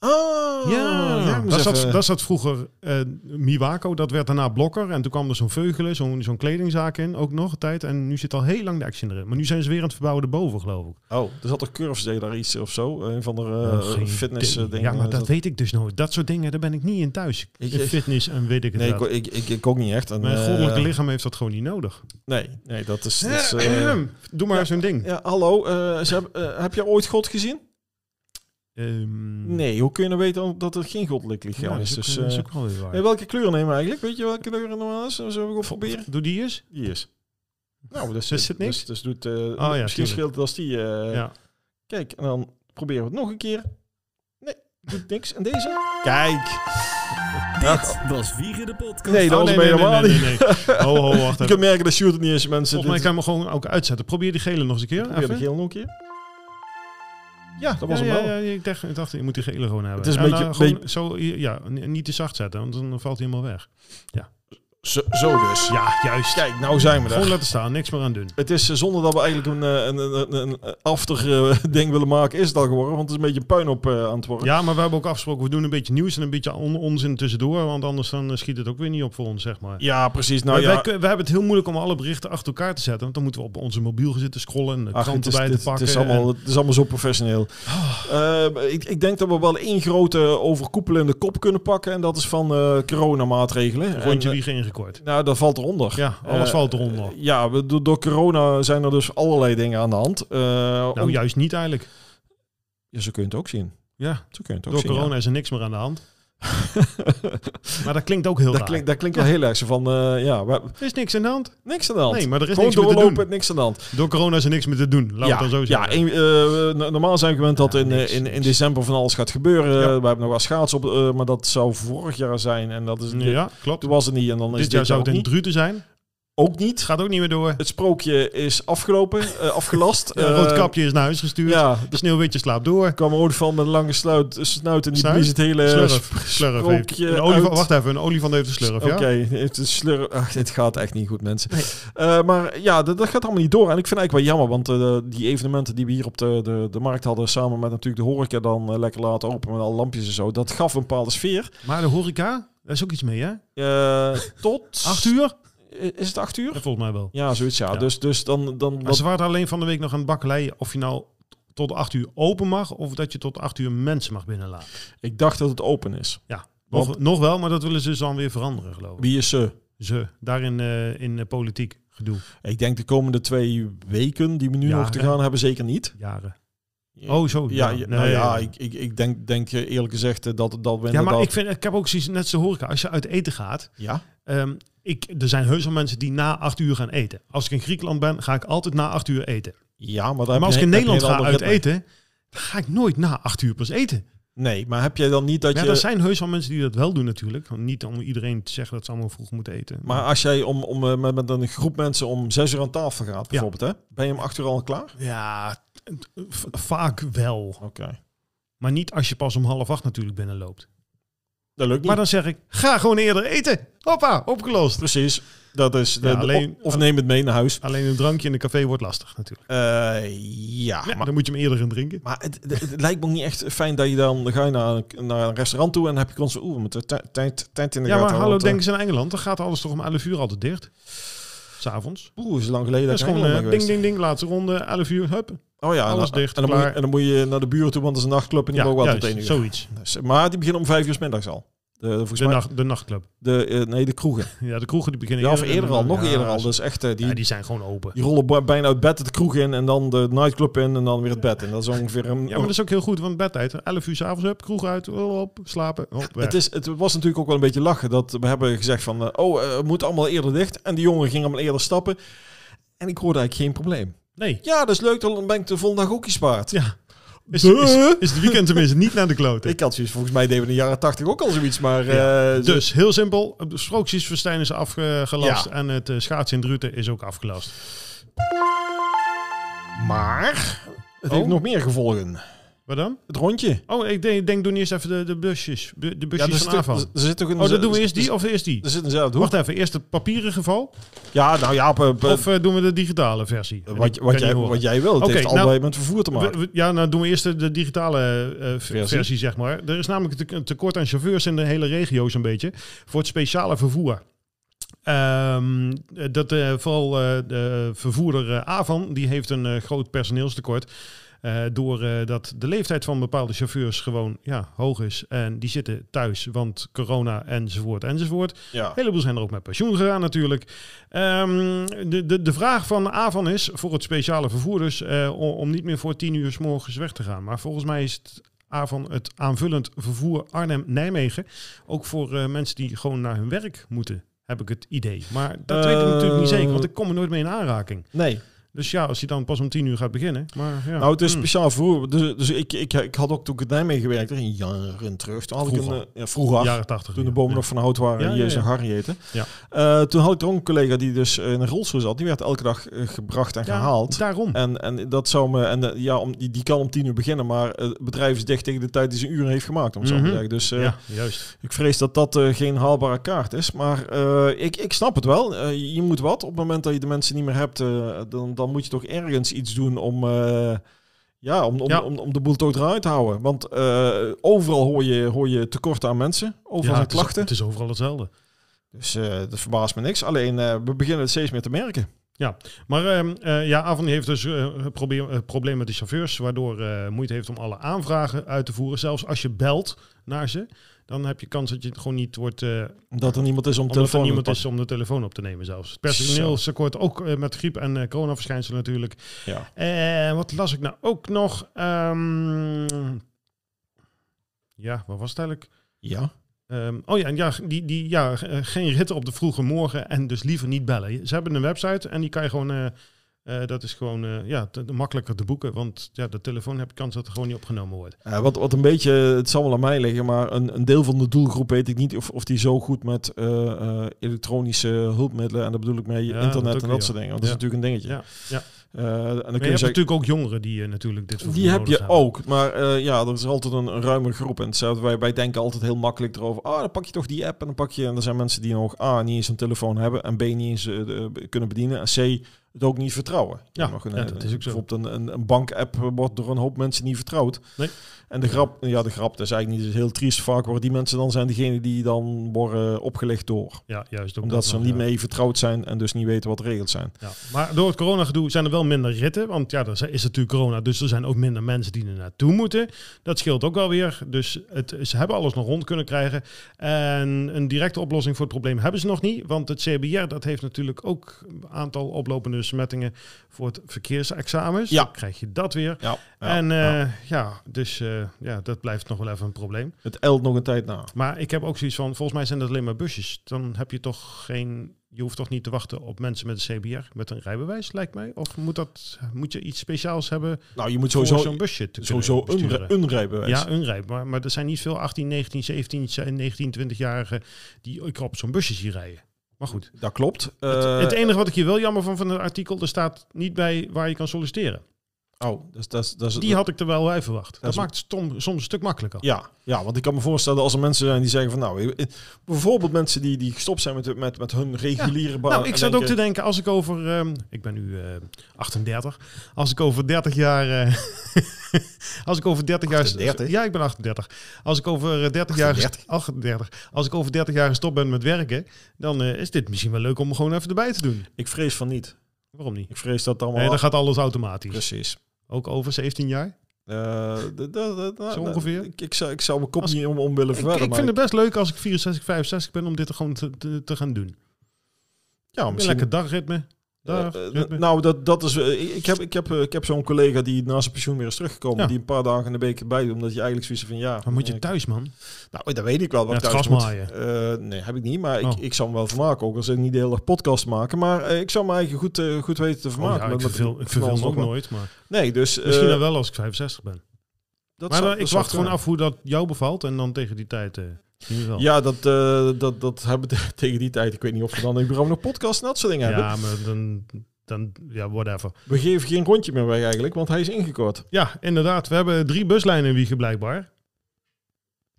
Oh,
ja, dus
laat me
dat
eens
zat,
even-
dat zat vroeger eh, Miwaco. Dat werd daarna blokker. En toen kwam er zo'n veugelen, zo'n zo'n kledingzaak in. Ook nog een tijd. En nu zit al heel lang de action erin. Maar nu zijn ze weer aan het verbouwen erboven, geloof ik.
Oh, er zat een curves deed daar iets of zo. Een van de
Eh, geen
fitness
idee.
eh, dingen.
Ja, maar dat weet ik dus nooit. Dat soort dingen, daar ben ik niet in thuis.
Ik-
in
ik-
fitness en weet ik het
Nee, ik,
wel.
ik, ik, ik ook niet echt. En,
Mijn
eh,
goddelijke lichaam heeft dat gewoon niet nodig.
nee, nee, dat is... Dat is eh,
Doe maar
ja.
zo'n ding.
ja, hallo, eh, ze hebben- eh, heb je ooit God gezien?
Ehm,
Nee, hoe kun je nou weten dat er geen goddelijk
ja,
lichaam
dat
is?
is, ook,
Dus,
dat is
eh,
ook wel weer waar.
nee, welke kleur nemen we eigenlijk? Weet je welke kleur er normaal is? Zullen we ook proberen?
Doe die eens.
Die is. Nou, dus,
Dus zit niks?
Dus, dus doet, eh,
ja,
misschien
tuurlijk.
scheelt het als die... eh,
Ja.
Kijk, en dan proberen we het nog een keer. Nee, doet niks. En deze? Kijk.
Dit was Wiegen de Podcast.
Nee, dat
Oh,
was
nee,
hem
nee,
helemaal
nee,
niet.
nee, nee. Ho, ho, wacht
Je
even.
kunt merken dat shoot het niet is, mensen.
Volgens mij kan je hem gewoon ook uitzetten. Probeer die gele nog eens een keer.
Probeer de
even.
geel nog een keer. Ja, dat was
ja,
hem wel.
ja, ja, ik dacht, ik dacht, je moet die gele gewoon hebben.
Het is een
En,
beetje-
eh, gewoon zo, ja, n- niet te zacht zetten, want dan valt hij helemaal weg.
Zo, zo dus.
Ja, juist.
Kijk, nou zijn we
Gewoon
er.
laten staan, niks meer aan doen.
Het is eh, zonder dat we eigenlijk een, eh, een, een, een- een after eh, ding willen maken, is het al geworden. Want het is een beetje een puin op eh, aan het worden.
Ja, maar we hebben ook afgesproken, we doen een beetje nieuws en een beetje on- onzin tussendoor. Want anders dan eh, schiet het ook weer niet op voor ons, zeg maar.
Ja, precies. Nou
we,
ja,
hebben het heel moeilijk om alle berichten achter elkaar te zetten. Want dan moeten we op onze mobiel gaan zitten scrollen en de
ach, het
kranten
is,
bij
het-
te pakken.
het is allemaal, het is allemaal zo professioneel. Eh, ik, ik denk dat we wel één grote overkoepelende kop kunnen pakken. En dat is van eh, coronamaatregelen.
en
En,
rondje
eh,
wiegen ingekort.
nou, dat valt eronder.
Ja, alles
eh,
valt eronder.
Ja, we, door, door corona zijn er dus allerlei dingen aan de hand. Eh,
nou,
om-
juist niet eigenlijk.
Ja, zo kun je het ook zien.
Ja,
Zo kun je het ook
door
zien, ja.
corona is er niks meer aan de hand. maar dat klinkt ook heel
Dat
raar.
klinkt, dat klinkt wel heel erg zo van, eh, ja, we,
Er is niks aan de hand.
niks aan de hand.
Nee, maar er is
Gewoon
niks meer te
doorlopen,
doen.
niks aan de hand.
Door corona is er niks meer te doen. Laten we
ja,
het dan zo
ja
zeggen.
en, eh, no- normaal zijn we gewend dat
Ja,
in, eh,
niks,
in, in
niks.
december van alles gaat gebeuren. Eh,
Ja.
we hebben nog wel schaats op, eh, maar dat zou vorig jaar zijn. En dat is dit-
ja, klopt.
toen was het niet. En dan is
Dit jaar zou het
ook niet.
in
Eh,
Druten zijn.
Ook niet.
Het gaat ook niet meer door.
Het sprookje is afgelopen, eh, afgelast.
Ja,
Eh,
Roodkapje is naar huis gestuurd.
Ja, Eh,
De sneeuwwitje slaapt door.
er kwam een olifant met een lange sluit, snuit en die
Snuit?
blies het hele...
Slurf. Slurf heeft.
sprookje
Een olifant,
uit-
wacht even, een olifant heeft een slurf,
Oké,
ja?
het is slurren. Ach, dit gaat echt niet goed, mensen. Eh, maar ja, dat, dat gaat allemaal niet door. En ik vind eigenlijk wel jammer, want eh, die evenementen die we hier op de, de, de markt hadden, samen met natuurlijk de horeca dan eh, lekker laten open met alle lampjes en zo, dat gaf een bepaalde sfeer.
Maar de horeca, daar is ook iets mee, hè?
Eh, tot...
Acht uur?
Is het acht uur?
Ja, volgens mij wel.
Ja, zoiets, ja.
Ja.
Dus, dus dan... dan
Maar ze waren alleen van de week nog aan het bakkelei of je nou t- tot acht uur open mag of dat je tot acht uur mensen mag binnenlaten.
ik dacht dat het open is.
Nog, nog wel, maar dat willen ze dus dan weer veranderen, geloof ik.
Wie is ze?
Ze, daarin eh, in eh, politiek gedoe,
Ik denk de komende twee weken die we nu
Ja,
nog te
hè?
gaan hebben, zeker niet.
jaren. Oh, zo.
Ja, ja, nou
nee.
ja, ik, ik, ik denk, denk eh, eerlijk gezegd eh, dat, dat we
ja,
inderdaad...
maar ik, vind, ik heb ook zoiets net zo horeca. Als je uit eten gaat,
Ja?
Ehm, ik, er zijn heus wel mensen die na acht uur gaan eten. Als ik in Griekenland ben, ga ik altijd na acht uur eten.
Ja, maar, daar
Maar
heb
als
je-
ik in
heb je
Nederland
een
ga
ander
uit
ritme.
eten, dan ga ik nooit na acht uur pas eten.
Nee, maar heb jij dan niet dat
Maar ja,
je...
er zijn heus wel mensen die dat wel doen natuurlijk. Want niet om iedereen te zeggen dat ze allemaal vroeg moeten eten.
Maar als jij om, om, eh, met, met een groep mensen om zes uur aan tafel gaat, bijvoorbeeld, hè? ben je om acht uur al klaar?
ja, t- v- vaak wel.
Oké.
Maar niet als je pas om half acht natuurlijk binnenloopt.
Dat lukt niet.
Maar dan zeg ik, ga gewoon eerder eten. Hoppa, opgelost.
Precies. Dat is de-
Ja,
de-
alleen-
of neem het mee naar huis.
Alleen een drankje in een café wordt lastig natuurlijk.
Eh, ja,
Ja,
maar,
Ah, dan moet je hem eerder gaan drinken.
maar het, het, het lijkt me ook niet echt fijn dat je dan dan ga je naar, een- naar een restaurant toe en dan heb je constant... Oeh, we moeten tij- tijd tijd in de
Ja,
gaten
maar hallo,
want, eh,
denk eens in Engeland. Dan gaat alles toch om 11 uur altijd dicht. S'avonds.
Oeh, is het lang geleden
Dat
dat,
is
ik
gewoon
in
eh,
Engeland ben
ding,
geweest.
ding, ding. Laatste ronde, 11 uur. Hup.
Oh ja, en
alles
dan-
dicht,
en, dan moet je,
klaar.
en dan moet je naar de buren toe, want er is een nachtclub en die
Ja,
mogen wel
juist,
tot één uur.
zoiets.
Dus, maar die beginnen om vijf uur 's middags al. De, volgens
De,
mij,
nacht, de nachtclub.
de, eh, nee, de kroegen.
Ja, de kroegen die beginnen
Ja, of
en
eerder
dan-
al, nog
eh, ja,
eerder al. Dus echt, eh, die,
ja, die zijn gewoon open.
die rollen ba- bijna uit bed de kroeg in en dan de nightclub in en dan weer het bed in. Dat is ongeveer een...
Ja, maar dat is ook heel goed, want bedtijd. 11 uur s'avonds, hup, kroeg uit, op, slapen, hop, weg.
het, is, het was natuurlijk ook wel een beetje lachen dat we hebben gezegd van, eh, oh, eh, het moet allemaal eerder dicht. En die jongen ging allemaal eerder stappen. En ik hoorde eigenlijk geen probleem.
Nee.
Ja, dat is leuk, dan ben ik de volgende dag ook iets waard.
Ja. Is,
Duh.
is, is het weekend tenminste niet naar de kloten.
Ik had zoiets, volgens mij deden we in de jaren tachtig ook al zoiets, maar... eh, zo-
dus heel simpel, de sprookjesfestijn is afgelast
Ja.
en het eh, schaatsen in Druten is ook afgelast.
Maar... Het
Oh.
heeft nog meer gevolgen.
Wat dan?
Het rondje.
Oh, ik denk, denk doe niet eerst even de, de busjes, bu- de busjes
er
van
zit-
aanval.
er zit toch een...
Oh, dan doen we eerst
dus
die of eerst die?
Er zit eenzelfde hoek.
Wacht even, eerst het papieren geval
Ja, nou ja, op, op-
of eh, doen we de digitale versie? En
wat,
ik
wat,
kan
jij,
niet horen.
wat jij wil. Het
Oké,
heeft
nou-
allebei met vervoer te maken.
We- we- ja, nou doen we eerst de, de digitale eh, eh, versie.
Versie.
zeg maar. Er is namelijk te- een tekort aan chauffeurs in de hele regio zo'n beetje voor het speciale vervoer. Ehm, eh, dat eh, vooral eh, de vervoerder eh, Avan, die heeft een eh, groot personeelstekort. eh Doordat dat de leeftijd van bepaalde chauffeurs gewoon ja, hoog is. En die zitten thuis, want corona enzovoort enzovoort.
ja.
Een heleboel zijn er ook met pensioen gegaan natuurlijk. Ehm, de, de, de vraag van Avan is voor het speciale vervoer dus... eh, om, om niet meer voor tien uur s morgens weg te gaan. Maar volgens mij is het Avan het aanvullend vervoer Arnhem-Nijmegen... ook voor eh, mensen die gewoon naar hun werk moeten, heb ik het idee. Maar dat weet ik
Eh.
natuurlijk niet zeker, want ik kom er nooit mee in aanraking.
Nee.
Dus ja, als je dan pas om tien uur gaat beginnen... Maar, ja.
Nou, het is
Hm.
speciaal vervoer. Dus, dus ik, ik, ik had ook toen ik in Nijmegen gewerkt, in jaren terug. Toen had ik
Vroeger.
een, eh, ja, vroeger.
Jaren tachtig.
Toen de
ja.
bomen
Ja.
nog van hout waren,
Ja, ja,
en Jezus
ja.
en Harry heette.
Ja.
Eh, toen had ik er ook een collega die dus in een rolstoel zat. Die werd elke dag eh, gebracht en
Ja,
gehaald.
Daarom.
En, en dat zou me. En eh, ja, om, die, die kan om tien uur beginnen, maar eh, het bedrijf is dicht tegen de tijd die ze uren heeft gemaakt, om het
Mhm.
zo te zeggen. Dus eh,
ja, juist.
ik vrees dat dat eh, geen haalbare kaart is. Maar eh, ik, ik snap het wel. Eh, je moet wat. Op het moment dat je de mensen niet meer hebt, eh, dan, dan moet je toch ergens iets doen om. eh, ja, om, om,
Ja.
Om, om de boel toch eruit te houden. Want eh, overal hoor je, hoor je tekorten aan mensen. Overal
Ja,
zijn
het, is,
klachten.
het is overal hetzelfde.
Dus eh, dat verbaast me niks. Alleen eh, we beginnen het steeds meer te merken.
Maar ehm, eh, ja, Avon heeft dus eh, een probleem, een probleem met de chauffeurs, waardoor eh, moeite heeft om alle aanvragen uit te voeren. Zelfs als je belt naar ze, dan heb je kans dat je het gewoon niet wordt. eh
Omdat er niemand is om
omdat er
telefoon
niemand
te
is om de telefoon op te nemen zelfs. Het personeelstekort ook eh, met griep en eh coronaverschijnselen natuurlijk.
pakken. Ja.
Eh, wat las ik nou ook nog? Ehm, ja, wat was het eigenlijk?
ja.
Ehm, oh ja, en ja, die, die, ja, eh, geen ritten op de vroege morgen en dus liever niet bellen. Ze hebben een website en die kan je gewoon, eh, eh, dat is gewoon eh, ja, te- te makkelijker te boeken. Want ja, de telefoon heb je kans dat er gewoon niet opgenomen wordt.
Eh, wat, wat een beetje, het zal wel aan mij liggen, maar een, een deel van de doelgroep weet ik niet of, of die zo goed met eh, eh, elektronische hulpmiddelen, en daar bedoel ik mee
Ja, dat
internet
ook
en
weer,
dat soort dingen. Want
ja.
dat is natuurlijk een dingetje.
Ja, ja.
Eh, en dan
Maar
kun je
je hebt
zeggen,
natuurlijk ook jongeren die eh, natuurlijk dit vervoer
die heb
nodig
je
hebben.
ook. Maar eh, ja, er is altijd een, een ruime groep. En hetzelfde, wij, wij denken altijd heel makkelijk erover. Ah, dan pak je toch die app en dan pak je... En er zijn mensen die nog A, niet eens een telefoon hebben. En B, niet eens eh, de- kunnen bedienen. En C, het ook niet vertrouwen. Je
Ja,
hebt nog een, eh,
ja, dat is ook zo.
Bijvoorbeeld een, een, een bank-app wordt door een hoop mensen niet vertrouwd.
Nee.
En de grap, ja, de grap, dat is eigenlijk niet zo heel triest. Vaak worden die mensen dan zijn degene die dan worden opgelegd door.
Ja, juist. ook
Omdat
dat
ze er
nog,
niet
ja.
mee vertrouwd zijn en dus niet weten wat de regels zijn.
Ja. Maar door het coronagedoe zijn er wel minder ritten. Want ja, er is is natuurlijk corona, dus er zijn ook minder mensen die er naartoe moeten. Dat scheelt ook wel weer. Dus het, ze hebben alles nog rond kunnen krijgen. En een directe oplossing voor het probleem hebben ze nog niet. Want het CBR dat heeft natuurlijk ook een aantal oplopende besmettingen voor het verkeersexamens.
Ja.
Dan krijg je dat weer.
Ja,
en eh,
ja.
ja, dus eh, ja, dat blijft nog wel even een probleem.
het elt nog een tijd na.
Maar ik heb ook zoiets van, volgens mij zijn dat alleen maar busjes. Dan heb je toch geen, je hoeft toch niet te wachten op mensen met een CBR, met een rijbewijs, lijkt mij. Of moet, dat, moet je iets speciaals hebben
Nou, je moet
voor
sowieso...
zo'n busje te kunnen
Sowieso een,
besturen?
rij- een rijbewijs.
ja, een rij. Maar, maar er zijn niet veel 18, 19, 17, 19, 20-jarigen die ik op zo'n busje zie rijden. Maar goed.
Dat klopt.
Het,
Eh,
het enige wat ik hier wel jammer van van het artikel, er staat niet bij waar je kan solliciteren.
Oh, dat is- dat is- dat is-
Die had ik er wel bij verwacht. Dat
is-
maakt het stom- soms een stuk makkelijker.
ja, ja, want ik kan me voorstellen als er mensen zijn die zeggen van nou, eh, bijvoorbeeld mensen die, die gestopt zijn met, met, met hun reguliere baan.
Nou, ik
en
zat ook te
denken,
denken, als ik over... ehm, ik ben nu eh 38. Als ik over 30 jaar... eh, als ik over 30 jaar...
38?
Ja, ik ben 38. Als ik over eh, 30 jaar...
38?
38. Als ik over 30 jaar gestopt ben met werken... dan eh, is dit misschien wel leuk om gewoon even erbij te doen.
Ik vrees van niet.
Waarom niet?
Ik vrees dat het allemaal.
Nee, dan gaat alles automatisch.
Precies.
Ook over 17 jaar.
Eh, d- d- d- d-
Zo ongeveer?
Ik, ik, zou, ik zou mijn kop
Als-
niet om, om willen
Ik,
verwerken.
ik vind het best leuk als ik 64, 65 ben... om dit er gewoon te, te, te gaan doen.
ja,
Een
misschien.
lekker dagritme. Dag,
Eh, eh,
ritme.
nou, dat, dat is. eh, ik- ik heb, ik heb, eh, ik heb zo'n collega die na zijn pensioen weer is teruggekomen.
Ja.
Die een paar dagen in de week erbij doet. Omdat je eigenlijk zoiets van ja.
maar moet je
eh,
thuis, man?
Nou, dat weet ik wel. Wat
Ja,
ik
het
thuis
gras
moet. Eh, nee, heb ik niet. Maar
Oh.
ik, ik zou me wel vermaken. Ook als ik niet de hele dag podcast maken. Maar eh, ik zou me eigenlijk goed, eh, goed weten te
Oh,
vermaken.
ja, ik
met- met-
verveel, ik
met
verveel
alles
me ook
nog wat.
nooit, maar...
Nee, dus... eh,
Misschien dan wel als ik 65 ben.
Dat
maar
zou- dat
dan- ik
zou
wacht gewoon
kunnen.
af hoe dat jou bevalt. En dan tegen die tijd eh, zien we wel.
Ja, dat, eh, dat, dat hebben we tegen die tijd. Ik weet niet of we dan überhaupt nog podcast en dat soort dingen hebben.
Ja, maar dan, dan... Ja, whatever.
We geven geen rondje meer weg eigenlijk, want hij is ingekort.
Ja, inderdaad. We hebben drie buslijnen in Wiegen blijkbaar.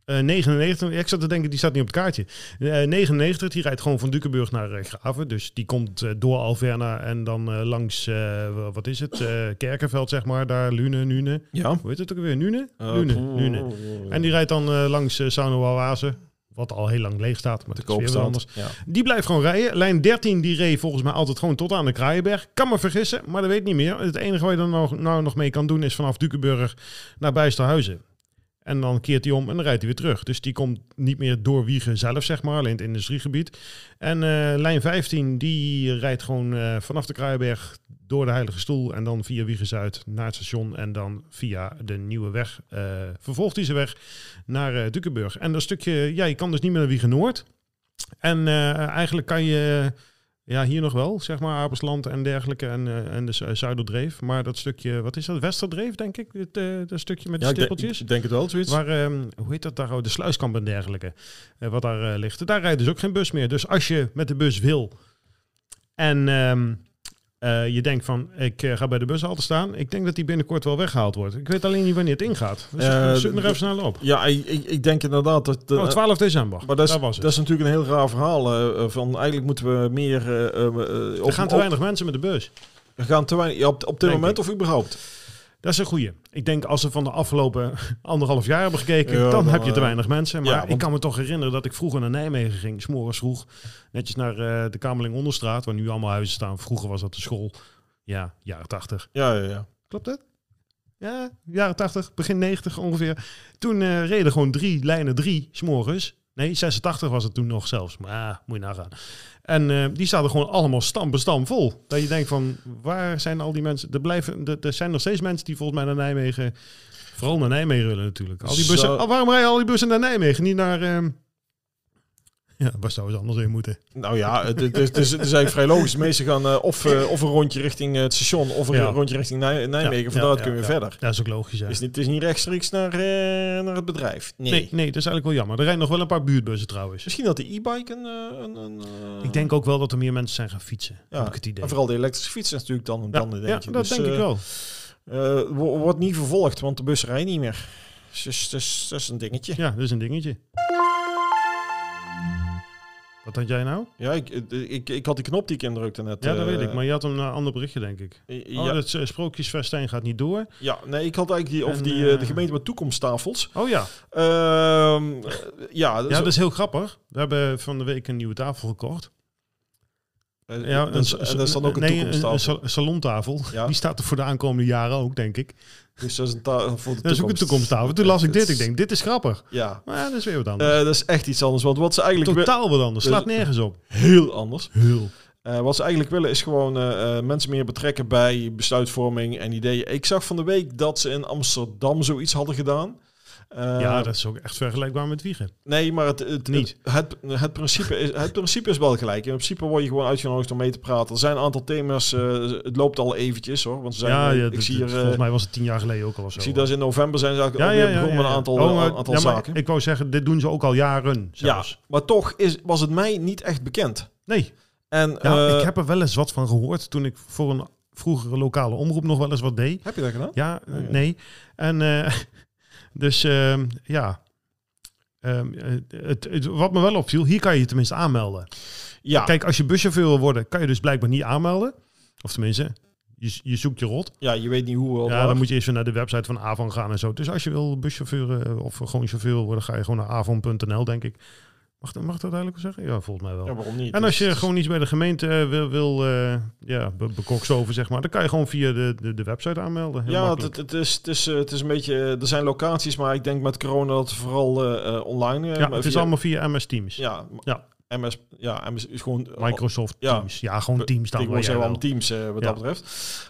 Eh 99, ik zat te denken, die staat niet op het kaartje. Eh, 99, die rijdt gewoon van Dukenburg naar eh, Graven. Dus die komt eh, door Alverna en dan eh, langs, eh, wa- wat is het, Eh, Kerkenveld zeg maar. Daar, Lune, Nune.
Ja. oh,
Hoe heet het ook weer? Nune?
Eh,
Lune, Nune. En die rijdt dan eh, langs eh Saunowawazen, wat al heel lang leeg staat. Maar
te
dat is weer
koop
wat
staat.
anders.
Ja.
Die blijft gewoon rijden. Lijn 13 die reed volgens mij altijd gewoon tot aan de Kraaienberg. Kan me vergissen, maar dat weet ik niet meer. Het enige wat je dan nog, nou nog mee kan doen is vanaf Dukenburg naar Bijsterhuizen. En dan keert hij om en dan rijdt hij weer terug. Dus die komt niet meer door Wiegen zelf, zeg maar, alleen het industriegebied. En eh, lijn 15 die rijdt gewoon eh, vanaf de Kraaienberg door de Heilige Stoel en dan via Wiegen Zuid naar het station en dan via de Nieuwe Weg. eh, vervolgt hij zijn weg naar eh Dukenburg. En dat stukje, ja, je kan dus niet meer naar Wiegen Noord. En eh, eigenlijk kan je ja, hier nog wel, zeg maar, Apelsland en dergelijke en, eh, en de Zu- Zuiderdreef. Maar dat stukje, wat is dat? Westerdreef, denk ik? Het, eh, dat stukje met de
Ja, ik denk,
stippeltjes.
ik denk het wel, zoiets.
Waar, ehm, hoe heet dat daar? ook? De Sluiskamp en dergelijke. eh, wat daar eh, ligt. Daar rijdt dus ook geen bus meer. Dus als je met de bus wil en ehm, eh, je denkt van, ik eh, ga bij de bus altijd staan. Ik denk dat die binnenkort wel weggehaald wordt. Ik weet alleen niet wanneer het ingaat. Dus
Eh,
zoek er
de-
even snel op.
Ja, ik, ik, ik denk inderdaad dat... eh, de-
Oh, 12 december.
maar dat is,
daar was het.
dat is natuurlijk een heel raar verhaal. eh, eh, van eigenlijk moeten we meer... eh, eh, eh, op,
er gaan te
op-
weinig mensen met de bus.
er gaan te weinig- ja, op, op dit
Denk
moment of überhaupt?
Dat is een goeie. Ik denk als ze van de afgelopen anderhalf jaar hebben gekeken,
Ja,
dan,
dan,
heb je te
eh,
weinig mensen. Maar
ja, want-
ik kan me toch herinneren dat ik vroeger naar Nijmegen ging, s'morgens vroeg, netjes naar eh, de Kamerling Onderstraat, waar nu allemaal huizen staan. Vroeger was dat de school, ja, jaren tachtig.
Ja, ja, ja.
Klopt dat? Ja, jaren 80, begin 90 ongeveer. Toen eh, reden gewoon drie lijnen drie, s'morgens. Nee, 86 was het toen nog zelfs. Maar ja, moet je nagaan. En eh, die zaten gewoon allemaal stam bestam vol. Dat je denkt van, waar zijn al die mensen? Er, blijven, er, er zijn nog steeds mensen die volgens mij naar Nijmegen... Vooral naar Nijmegen willen natuurlijk. Al die bussen,
Zo.
oh, waarom rijden al die bussen naar Nijmegen? Niet naar... ehm, Ja, waar zouden ze anders heen moeten?
Nou ja, het, het, is- het is, het is eigenlijk vrij logisch. De meesten gaan eh, of, eh, of een rondje richting eh, het station of een
Ja.
rondje richting Nij- Nijmegen.
Ja,
Vandaar
ja,
kunnen we
ja, ja.
verder.
Dat is ook logisch, ja.
Het is, niet, het is niet rechtstreeks naar, eh, naar het bedrijf. Nee.
Nee, nee, dat is eigenlijk wel jammer. Er rijden nog wel een paar buurtbussen trouwens.
Misschien dat de e-bike een... eh, een, een, eh,
Ik denk ook wel dat er meer mensen zijn gaan fietsen.
Ja,
Heb ik het idee.
En vooral de elektrische fiets is natuurlijk dan een
ja,
dan
ja,
dingetje.
dat
Dus,
denk ik
eh,
wel.
eh, wo- wordt niet vervolgd, want de bus rijdt niet meer. Dus, dus, dus dat is een dingetje.
Ja, dat is een dingetje. Wat had jij nou?
Ja, ik, ik, ik had die knop die ik indrukte net.
Ja, dat
eh,
weet ik. Maar je had hem naar een ander berichtje, denk ik.
eh,
Oh,
ja,
dat eh, sprookjesfestijn gaat niet door.
ja, nee, ik had eigenlijk die, of
En,
die, eh,
eh,
de gemeente met toekomsttafels.
Oh ja.
Ehm, eh, ja,
Ja, dus-
zo-
dat is heel grappig. We hebben van de week een nieuwe tafel gekocht.
eh,
Ja, dus-
dat is- en dat is dan ook een
nee,
toekomsttafel.
Een, sal- salontafel.
Ja.
Die staat er voor de aankomende jaren ook, denk ik.
dus dat is een ta- voor de
Dat is ook een toekomsttafel. Toen las ik dit. Ik denk, dit is grappig.
Ja,
Maar ja, dat is weer wat
Eh,
anders.
dat is echt iets anders. Want wat ze eigenlijk willen...
Totaal wat anders.
dus-
Slaat nergens op.
Heel anders.
Heel.
Eh, wat ze eigenlijk willen is gewoon eh, eh, mensen meer betrekken bij besluitvorming en ideeën. Ik zag van de week dat ze in Amsterdam zoiets hadden gedaan. Eh,
ja, dat is ook echt vergelijkbaar met Wiegen.
Nee, maar het, het,
Niet.
Het, het, het principe is, het principe is wel gelijk. In principe word je gewoon uitgenodigd om mee te praten. Er zijn een aantal thema's. eh, het loopt al eventjes hoor. Want ze zijn,
ja, ja
ik
dat-
zie
dat-
hier, eh,
volgens mij was het tien jaar geleden ook al of zo.
ik zie dat ze in november zijn ze eigenlijk alweer begonnen met een aantal,
Oh, maar-
een aantal
ja, maar
zaken.
Ik wou zeggen, dit doen ze ook al jaren
ja,
zelfs.
maar toch is, was het mij niet echt bekend.
Nee,
En
ja,
eh,
ik
heb...
heb er wel eens wat van gehoord toen ik voor een vroegere lokale omroep nog wel eens wat deed.
je dat gedaan?
Ja, eh,
Oh, ja.
nee. En eh, dus ehm, ja. Ehm, eh, het, het- wat me wel opviel, hier kan je je tenminste aanmelden.
Ja,
Kijk, als je buschauffeur wil worden, kan je dus blijkbaar niet aanmelden. Of tenminste, je, je zoekt je rot.
ja, je weet niet hoe. eh,
Ja, dan moet je eerst weer naar de website van Avon gaan en zo. Dus als je wil buschauffeur eh, of gewoon chauffeur wil worden, ga je gewoon naar avon.nl, denk ik. Mag, dat- mag dat eigenlijk wel zeggen? Ja, volgens mij wel.
ja, waarom niet?
en als je
Dus-
gewoon iets bij de gemeente eh, wil, wil eh, ja, be- bekokstoven, zeg maar, dan kan je gewoon via de, de, de website aanmelden. Heel
Ja,
makkelijk.
het, het, het is, het, is, eh, het is een beetje. eh, Er zijn locaties, maar ik denk met corona dat vooral eh, eh, online. eh,
ja,
maar
het is
via-
allemaal via MS Teams.
Ja, m-
Ja.
MS, ja, MS is gewoon.
Microsoft
Ja.
Teams. Ja, gewoon Teams dan.
Ik
waar
was
jij
wel
wil.
aan Teams eh, wat
Ja.
dat betreft.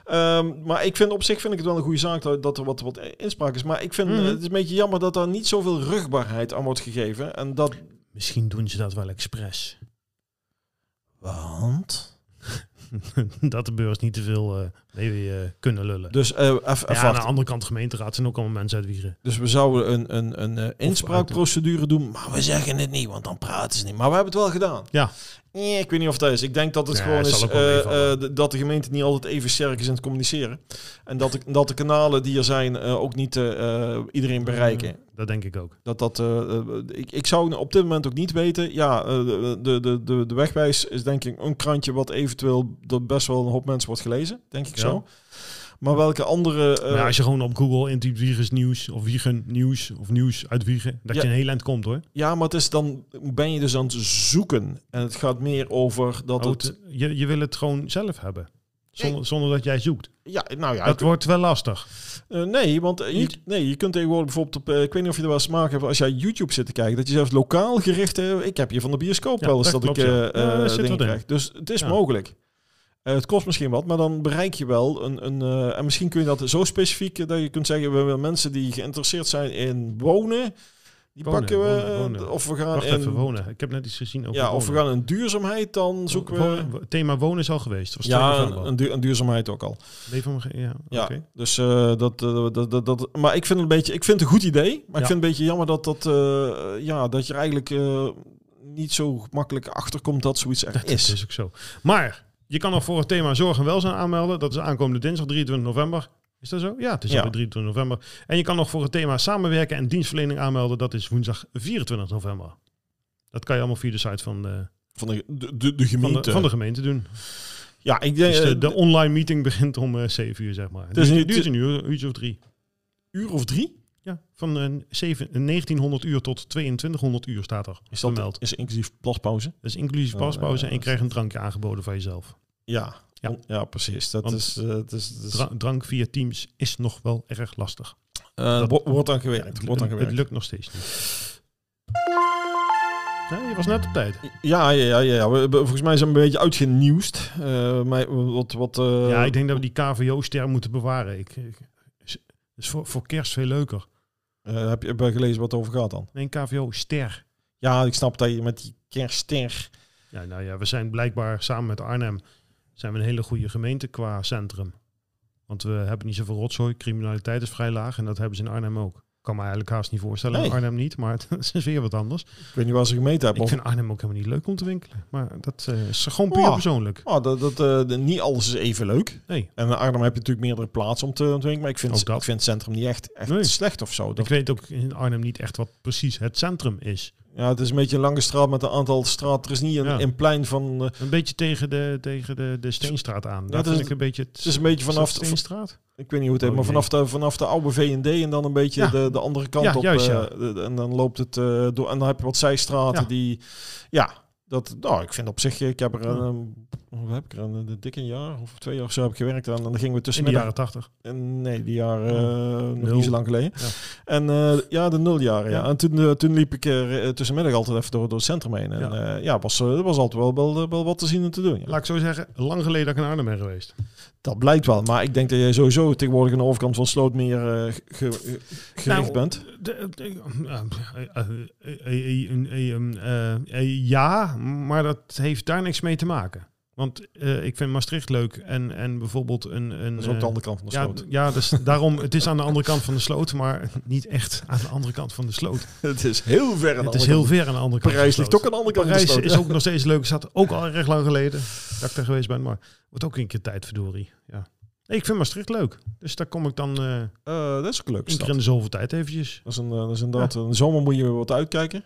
Ehm, maar ik vind op zich vind ik het wel een goede zaak dat, dat er wat, wat inspraak is. Maar ik vind
Mhm.
eh, het is een beetje jammer dat daar niet zoveel rugbaarheid aan wordt gegeven. En dat.
Misschien doen ze dat wel expres.
Want.
dat de beurs niet te veel eh, mee eh, kunnen lullen.
Dus eh, even even
ja, nou, aan de
wachten.
andere kant, gemeenteraad zijn ook allemaal mensen uit Wiegen.
Dus we zouden een, een, een eh, inspraakprocedure doen, maar we zeggen het niet, want dan praten ze niet. Maar we hebben het wel gedaan.
Ja.
Nee, ik weet niet of dat is. Ik denk dat het
Nee,
gewoon
het
is
zal ook wel
eh,
meevallen.
eh, d- dat de gemeente niet altijd even sterk is in het communiceren. En dat de, dat de kanalen die er zijn eh, ook niet eh, eh, iedereen bereiken.
Dat denk ik ook.
Dat dat, eh, eh, ik, ik zou op dit moment ook niet weten. Ja, eh, de, de, de, de wegwijs is denk ik een krantje wat eventueel door best wel een hoop mensen wordt gelezen, denk ik
Ja.
zo. Maar welke andere... eh,
maar Nou, als je gewoon op Google intypt Wiegers nieuws of Wiegen nieuws of nieuws uit Wiegen, dat
Ja.
je een heel eind komt hoor.
Ja, maar het is dan ben je dus aan het zoeken. En het gaat meer over dat
Oh,
het.
het- je, je wil het gewoon zelf hebben. Zonder, zonder dat jij zoekt.
Ja, nou ja.
Dat wordt wel lastig.
eh, nee, want eh, je,
Niet?
nee, je kunt tegenwoordig bijvoorbeeld op. eh, ik weet niet of je er wel eens smaak hebt als jij YouTube zit te kijken. Dat je zelfs lokaal gericht. eh, ik heb hier van de bioscoop
Ja,
wel eens dat
dat klopt,
ik eh
ja.
eh,
Ja, daar zit
dingen
wat in.
krijg. Dus het is
Ja.
mogelijk. Eh, het kost misschien wat, maar dan bereik je wel een. een eh, en misschien kun je dat zo specifiek eh, dat je kunt zeggen: we willen mensen die geïnteresseerd zijn in wonen. Die
Wonen,
pakken we.
wonen,
eh,
wonen.
Of we gaan
Wacht
in.
even, wonen. Ik heb net iets gezien over
Ja, of we
wonen.
gaan in duurzaamheid, dan zoeken we.
Wonen- wo- thema wonen is al geweest. Was
Ja, een, een duur- een duurzaamheid ook al.
ja,
Ja,
oké.
dus eh, dat, eh, dat, dat, dat. Maar ik vind het een beetje. Ik vind het een goed idee. Maar ik vind
Ja.
het een beetje jammer dat dat. eh, ja, dat je er eigenlijk eh, niet zo makkelijk achterkomt dat zoiets er
Dat
is.
is dus- ook zo. Maar je kan nog voor het thema zorg en welzijn aanmelden. Dat is aankomende dinsdag 23 november. Is dat zo? Ja, het is
Ja.
alweer 23 november. En je kan nog voor het thema samenwerken en dienstverlening aanmelden. Dat is woensdag 24 november. Dat kan je allemaal via de site van de,
Van de, de, de, de
van
gemeente.
de, van de gemeente doen.
ja, ik denk.
Dus de,
eh,
de online meeting begint om eh, 7 uur, zeg maar. Het
Dus
duurt,
het-
duurt een uur, een uurtje of drie.
een uur of drie.
Ja, van eh, zeven- 1900 uur tot 2200 uur staat er
Is dat
vermeld.
Is inclusief plaspauze.
Dus inclusief
Oh,
paspauze
ja,
en je
dat
krijgt een drankje aangeboden van jezelf.
Ja.
Ja.
Ja, precies. Dat
Want
is. eh, het is, het is
Dra- drank via Teams is nog wel erg lastig.
eh, wo- wordt aan gewerkt.
het,
wordt aan
het- het
gewerkt.
lukt nog steeds niet. Ja, je was net op tijd.
Ja, ja, ja, ja. We- we- Volgens mij zijn we een beetje uitgenieuwd. Eh, maar wat, wat, eh,
ja, ik denk dat we die KVO-ster moeten bewaren. Ik, ik- is, is voor, voor kerst veel leuker.
eh, heb je heb je gelezen wat het over gaat dan?
Nee, een KVO-ster.
Ja, ik snap dat je met die kerstster.
Ja, nou ja, we zijn blijkbaar samen met Arnhem zijn we een hele goede gemeente qua centrum. Want we hebben niet zoveel rotzooi. Criminaliteit is vrij laag en dat hebben ze in Arnhem ook. kan me eigenlijk haast niet voorstellen.
Nee.
Arnhem niet, maar het is weer wat anders.
Ik weet niet waar ze gemeten hebben.
Ik
Of,
vind Arnhem ook helemaal niet leuk om te winkelen. Maar dat eh, is gewoon puur
Ja.
persoonlijk.
Oh, dat, dat, eh, de- niet alles is even leuk.
Nee.
En in Arnhem heb je natuurlijk meerdere plaatsen om te ontwikkelen. Maar ik vind,
Ook dat.
ik vind het centrum niet echt, echt
Nee.
slecht of zo. Dat,
Ik weet ook in Arnhem niet echt wat precies het centrum is.
ja, het is een beetje een lange straat met een aantal straat. Er is niet een,
Ja.
een plein van... eh,
Een beetje tegen de, tegen de, de Steenstraat aan. Daar
dat
vind
is-
ik een beetje...
Dus- het is een beetje vanaf... de-
Steenstraat?
ik weet niet hoe het heet,
Oh,
maar
jee.
vanaf de, vanaf de oude V&D en dan een beetje
Ja.
de, de andere kant
Ja,
op.
juist,
eh,
ja.
de- de- en dan loopt het eh, door... En dan heb je wat zijstraten
Ja.
die... Ja, dat, nou, ik vind op zich... Ik heb er
Ja.
een... eh, Hoe heb ik er een, een dik een jaar of twee jaar of zo heb ik gewerkt. En dan gingen we
In
tussen
de jaren tachtig.
Eh, Nee, die jaren eh, nog
Nul.
niet zo lang geleden.
Ja.
En eh, ja, de nuljaren. Ja.
Ja.
En toen, eh, toen liep ik er eh, tussenmiddag altijd even door, door het centrum heen. En
Ja.
ja, ja was, eh, er was altijd wel, wel, wel wat te zien en te doen. ja.
Laat ik zo zeggen, lang geleden dat ik in Arnhem ben geweest.
Dat blijkt wel. Maar ik denk dat je sowieso tegenwoordig aan de overkant van Slootmeer eh, ge- ge- gericht
Nou,
bent.
De- de- eh, eh, eh, eh, eh, eh, eh, Ja, maar dat heeft daar niks mee te maken. Want eh, ik vind Maastricht leuk en, en bijvoorbeeld een... een
Dat is ook de
eh,
andere kant van de
ja,
sloot.
d- ja, dus daarom, het is aan de andere kant van de sloot, maar niet echt aan de andere kant van de sloot.
het is heel ver. aan de
Het is
andere
heel
kant.
ver aan de andere kant.
Parijs
van de
ligt ook
sloot.
aan de andere kant van
Parijs
de sloot.
is ook nog steeds leuk. Zat ook al erg lang geleden dat ik daar geweest ben, maar wordt ook een keer tijd, verdorie. Ja. Nee, ik vind Maastricht leuk, dus daar kom ik dan eh
Eh, dat is ook een leuke
een
stad.
keer in de zoveel tijd eventjes.
Dat is, een, eh, dat is inderdaad... In de zomer moet je weer wat uitkijken.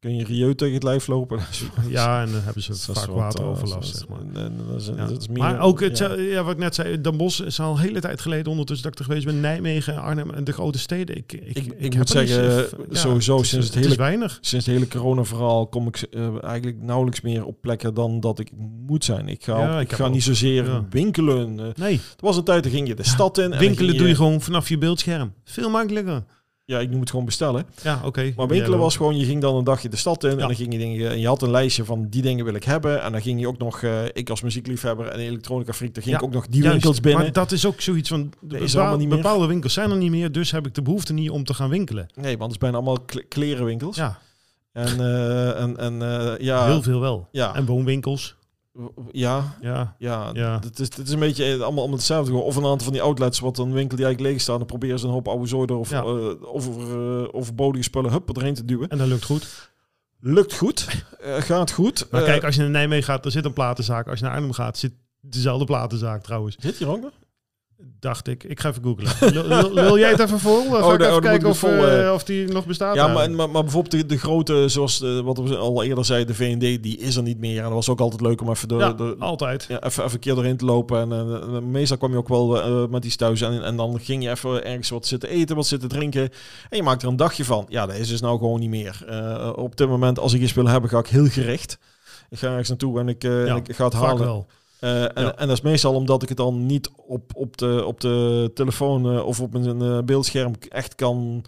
Kun je Rieu tegen het lijf lopen.
Ja, en dan hebben ze
Dat is
vaak
wat, eh,
wateroverlast,
dat is-
zeg maar.
en- en dat is-
Ja.
dat is meer-
Maar ook, het, eh,
ja.
ja. wat ik net zei, Den Bosch is al een hele tijd geleden ondertussen dat ik er geweest ben. Nijmegen, Arnhem en de grote steden. Ik, ik,
Ik- ik
heb
moet
er niet
zeggen,
zoveel-
sowieso
het is-
sinds het
is
hele-
weinig.
sinds het hele corona-verhaal kom ik eh, eigenlijk nauwelijks meer op plekken dan dat ik moet zijn. Ik ga,
Ja,
ook-
ik
ik
heb
ga
ook-
niet zozeer
ja.
winkelen. Eh,
Nee,
er was een tijd, dan ging je de stad in. en dan
winkelen
ging
doe je gewoon vanaf je beeldscherm. Veel makkelijker.
Ja, ik noem het gewoon bestellen.
Ja, oké.
Maar winkelen
Ja,
was gewoon, je ging dan een dagje de stad in
Ja.
en dan ging je dingen... En je had een lijstje van die dingen wil ik hebben. En dan ging je ook nog, eh, ik als muziekliefhebber en elektronica freak, dan ging
Ja,
ik ook nog die
Juist,
winkels
Maar
binnen.
dat is ook zoiets van,
er
bepaal-
allemaal niet meer.
bepaalde winkels zijn er niet meer, dus heb ik de behoefte niet om te gaan winkelen.
Nee, want het zijn bijna allemaal kle- klerenwinkels.
Ja,
En, eh, en, en eh, ja,
heel veel wel.
ja.
En woonwinkels.
Ja,
Ja.
ja.
Ja.
Het, is, het is een beetje eh, allemaal, allemaal hetzelfde. Of een aantal van die outlets, wat een winkel die eigenlijk leeg staat, dan proberen ze een hoop oude zooi er of,
Ja.
eh, over, eh, overbodige spullen hup, erheen te duwen.
En dat lukt goed.
Lukt goed, eh, gaat goed.
Maar
Eh,
kijk, als je naar Nijmegen gaat, er zit een platenzaak. Als je naar Arnhem gaat, zit dezelfde platenzaak trouwens.
zit hier ook nog?
Dacht ik. Ik ga even googlen. Lul- lul- Lul jij het even vol? Dan Ga
Oh, de- oh,
ik even
dan moet ik
kijken
het
of,
vol,
eh,
eh.
of die nog bestaat.
Ja, maar,
eigenlijk.
maar, maar bijvoorbeeld de, de grote, zoals eh, wat we al eerder zeiden, de VND, die is er niet meer. En dat was ook altijd leuk om even, de,
Ja,
de-
altijd.
ja, even, even een keer doorheen te lopen. En, eh, eh, meestal kwam je ook wel eh, met iets thuis. En, en dan ging je even ergens wat zitten eten, wat zitten drinken. En je maakt er een dagje van. Ja, dat is dus nou gewoon niet meer. Eh, op dit moment, als ik iets wil hebben, ga ik heel gericht. Ik ga ergens naartoe en ik, eh,
Ja,
en ik ga het
Vaak
halen.
wel.
Eh, en,
Ja.
en dat is meestal omdat ik het dan niet op, op, de, op de telefoon eh, of op mijn eh, beeldscherm echt kan,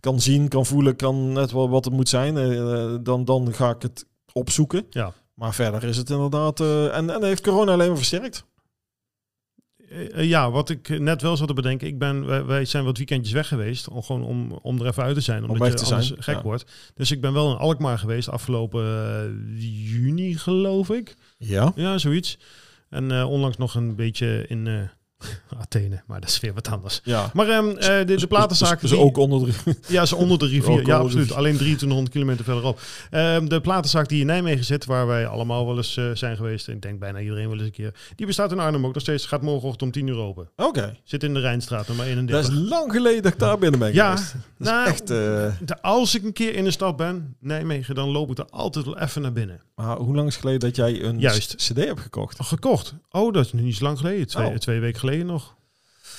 kan zien, kan voelen, kan net wel wat het moet zijn. Eh, eh, dan, dan ga ik het opzoeken.
Ja.
Maar verder is het inderdaad... eh, en, en dat heeft corona alleen maar versterkt.
Eh, eh, ja, wat ik net wel zat te bedenken. Ik ben, wij, wij zijn wat weekendjes weg geweest. Om, gewoon om, om er even uit te zijn. Omdat
weg
je
te
anders
zijn,
gek
ja.
wordt. Dus ik ben wel in Alkmaar geweest afgelopen eh, juni, geloof ik.
Ja.
Ja, zoiets. En eh, onlangs nog een beetje in eh, Athene. Maar dat is weer wat anders.
Ja.
Maar ehm, eh, de, de platenzaak...
Ze
die-
Dus- ook onder de...
Ja, ze onder de
Ook
rivier.
onder
Ja,
de
absoluut.
rivier.
Alleen 2300 kilometer verderop. Ehm, de platenzaak die in Nijmegen zit, waar wij allemaal wel eens eh, zijn geweest. En ik denk bijna iedereen wel eens een keer. Die bestaat in Arnhem ook nog steeds. Gaat morgenochtend om 10 uur open.
Oké.
Zit in de Rijnstraat, nummer
Dat
31.
is lang geleden dat ik daar binnen ben
Ja,
geweest. Dat is
nou,
echt... eh,
De- als ik een keer in de stad ben, Nijmegen, dan loop ik er altijd wel even naar binnen.
maar hoe lang is het geleden dat jij een
Juist.
cd hebt gekocht?
Oh, gekocht. Oh, dat is nu niet zo lang geleden. Twee,
Oh.
twee weken geleden nog.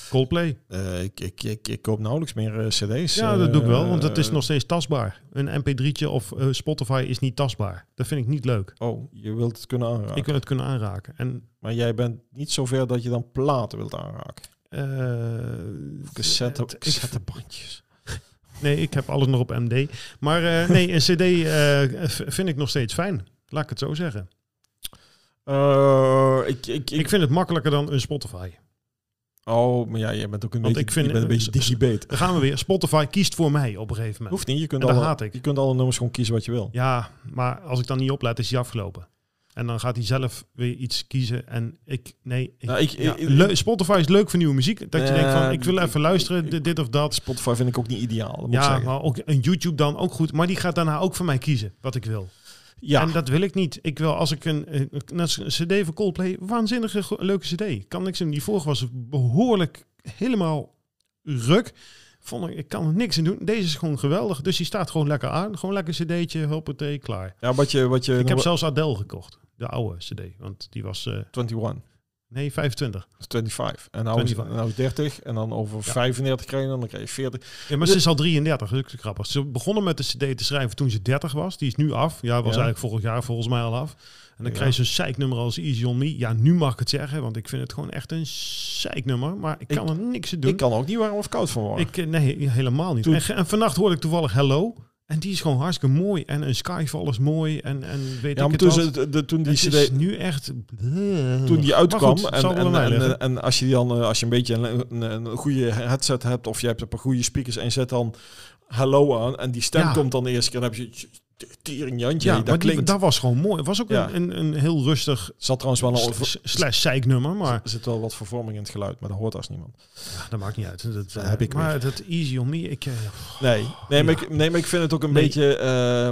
Coldplay.
Eh, ik, ik, ik, ik koop nauwelijks meer eh, cd's.
Ja, dat doe ik wel, want dat
dat
is nog steeds tastbaar. Een mp3'tje of eh, Spotify is niet tastbaar. Dat vind ik niet leuk.
Oh, je wilt het kunnen aanraken.
Ik wil het kunnen aanraken. En
Maar jij bent niet zover dat je dan platen wilt aanraken.
eh,
Cassette,
het- ik-
cassettebandjes.
nee, ik heb alles nog op MD. Maar eh, nee, een CD eh, v- vind ik nog steeds fijn. Laat ik het zo zeggen.
Eh, ik, ik, ik,
Ik vind het makkelijker dan een Spotify.
oh, maar ja, jij bent ook een
Want
beetje,
ik vind-
je bent een beetje
s-
digibate.
Dan gaan we weer. Spotify kiest voor mij op een gegeven moment.
Hoeft niet, je kunt,
En dat
alle,
haat ik.
je kunt alle nummers gewoon kiezen wat je wil.
Ja, maar als ik dan niet oplet, is hij afgelopen. En dan gaat hij zelf weer iets kiezen. En ik, nee. Ik,
Nou, ik-
ja,
ik-
le- Spotify is leuk voor nieuwe muziek. Dat je
Ja,
denkt van, ik wil
ik-
even luisteren, di- dit of dat.
Spotify vind ik ook niet ideaal, dat moet ik
ja,
zeggen.
maar ook een YouTube dan ook goed. Maar die gaat daarna ook voor mij kiezen wat ik wil.
ja,
En dat wil ik niet. Ik wil als ik een, een, een CD van Coldplay, waanzinnige go- leuke CD. Kan niks in die vorige was behoorlijk helemaal ruk. Vond ik, ik kan er niks in doen. Deze is gewoon geweldig. Dus die staat gewoon lekker aan. Gewoon lekker CD'tje, hoppatee, klaar.
ja, wat je... Wat je
Ik heb zelfs Adele gekocht. De oude CD. Want die was. eh,
21,
nee, 25.
25. En nou, Is,
25.
nou is 30 en dan over 35 krijg je dan, dan krijg je 40.
Ja, maar ze is al 33. Dat is ook zo grappig. Ze begonnen met de CD te schrijven toen ze 30 was. Die is nu af. Ja, was
Ja.
eigenlijk vorig jaar volgens mij al af. En dan
Ja.
krijg je zo'n zeiknummer als Easy on Me. Ja, nu mag ik het zeggen. Want ik vind het gewoon echt een zeiknummer. Maar ik
Ik-
kan er niks aan doen.
Ik kan er ook niet warm of koud van worden.
Ik, eh, nee, helemaal niet.
Toen-
En, ge- en vannacht hoorde ik toevallig Hello. En die is gewoon hartstikke mooi. En een Skyfall is mooi. En, en weet
ja,
ik
maar
het
toen,
wat.
ze- de, de- toen die
Het is
cd...
nu echt...
toen die uitkwam
Mm. goed, het
en,
zal wel
en,
aan mij
en,
liggen.
en als je die dan eh, als je een beetje een, een, een goede headset hebt of je hebt een paar goede speakers en je zet dan hallo aan en die stem
Ja.
komt dan de eerste keer dan heb je tering Jantje
Ja,
dat
maar die-
klinkt
dat was gewoon mooi. Het was ook
Ja.
een, een, een heel rustig
zat trouwens wel een
sl- slash zeiknummer, maar
er zit wel wat vervorming in het geluid maar dat hoort als niemand
Ah, dat maakt niet uit. Dat, eh,
Dat heb ik
maar dat easy on me, ik, eh, pff,
nee nee, maar ik, nee maar ik vind het ook een
Nee.
beetje eh,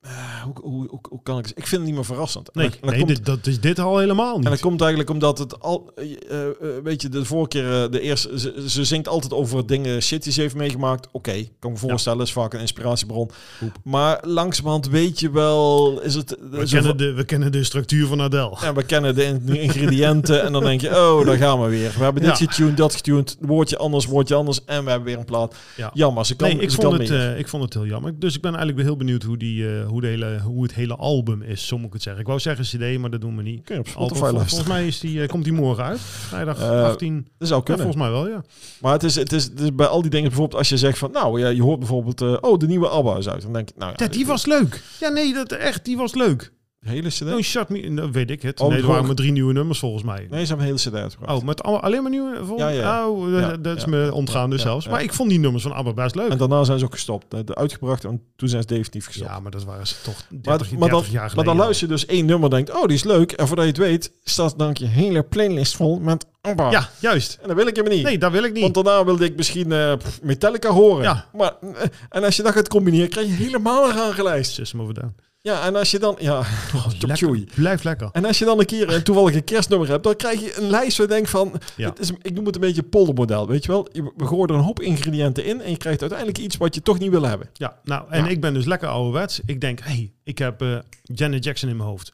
eh, hoe, hoe, hoe, hoe kan ik het ik vind het niet meer verrassend En
nee,
dan- dan
nee
komt-
dit, dat is dit al helemaal niet.
En dat komt eigenlijk omdat het al, eh, eh, eh, weet je, de vorige keer, eh, de eerste, ze, ze zingt altijd over dingen, shit die ze heeft meegemaakt. Oké, kan me voorstellen, is vaak een inspiratiebron.
Hoep.
Maar langzamerhand weet je wel, is het...
we, kennen de, we kennen de structuur van Adele.
en we kennen de in- ingrediënten en dan denk je, oh, daar gaan we weer. We hebben dit
Ja.
getuned, dat getuned, woordje anders, woordje anders en we hebben weer een plaat.
Ja.
Jammer, ze kan,
nee, ik
ze
vond,
kan
het,
meer.
eh, ik vond het heel jammer. Dus ik ben eigenlijk weer heel benieuwd hoe, die, eh, hoe, de hele, hoe het hele album is, zo moet ik het zeggen. Ik wou zeggen CD, maar dat doen we niet.
Kun je op
Album,
Spotify
vol-
luisteren.
volgens mij is die, eh, komt die morgen uit. Vrijdag
Eh,
18.
Dat zou
Ja,
kunnen.
volgens mij wel, ja.
Maar het is, het, is, het is bij al die dingen bijvoorbeeld als je zegt van, nou, ja, je hoort bijvoorbeeld, eh, oh, de nieuwe ABBA is uit. Dan denk ik, nou ja,
Ja, die was leuk. Ja, nee, dat, echt, die was leuk.
De hele CD?
Oh, shut me. Dat weet ik het.
Oh,
nee, er
de
waren
volgende.
maar drie nieuwe nummers volgens mij.
Nee, ze hebben een hele CD uitgebracht.
Oh, met alle, alleen maar nieuwe? Vol-
Ja, ja.
Oh, dat-
Ja,
dat is
ja.
me ontgaan dus
Ja,
zelfs.
ja.
Maar ik vond die nummers van ABBA best leuk.
En daarna zijn ze ook gestopt. De, de uitgebracht en toen zijn ze definitief gestopt.
Ja, maar dat waren ze toch 30,
Maar,
30
maar, dan,
jaar geleden.
maar dan
al.
luister je dus één nummer en denkt, oh, die is leuk. En voordat je het weet, staat dan je hele playlist vol met ABBA.
Ja, juist.
En dat wil ik hem niet.
Nee, dat wil ik niet.
Want daarna wilde ik misschien eh, pff, Metallica horen.
Ja.
Maar, eh, en als je dat gaat combineren, krijg je helemaal een rare lijst.
System of a Down.
Ja, en als je dan... Ja, tjoei.
Oh, Lekker. Blijf lekker.
En als je dan een keer een toevallige kerstnummer hebt, dan krijg je een lijst waar je denkt van...
Ja.
Het is, ik noem het een beetje poldermodel, weet je wel? Je- We gooien er een hoop ingrediënten in en je krijgt uiteindelijk iets wat je toch niet wil hebben.
Ja, nou, en
Ja.
ik ben dus lekker ouderwets. Ik denk, hé, hey, ik heb eh, Janet Jackson in mijn hoofd.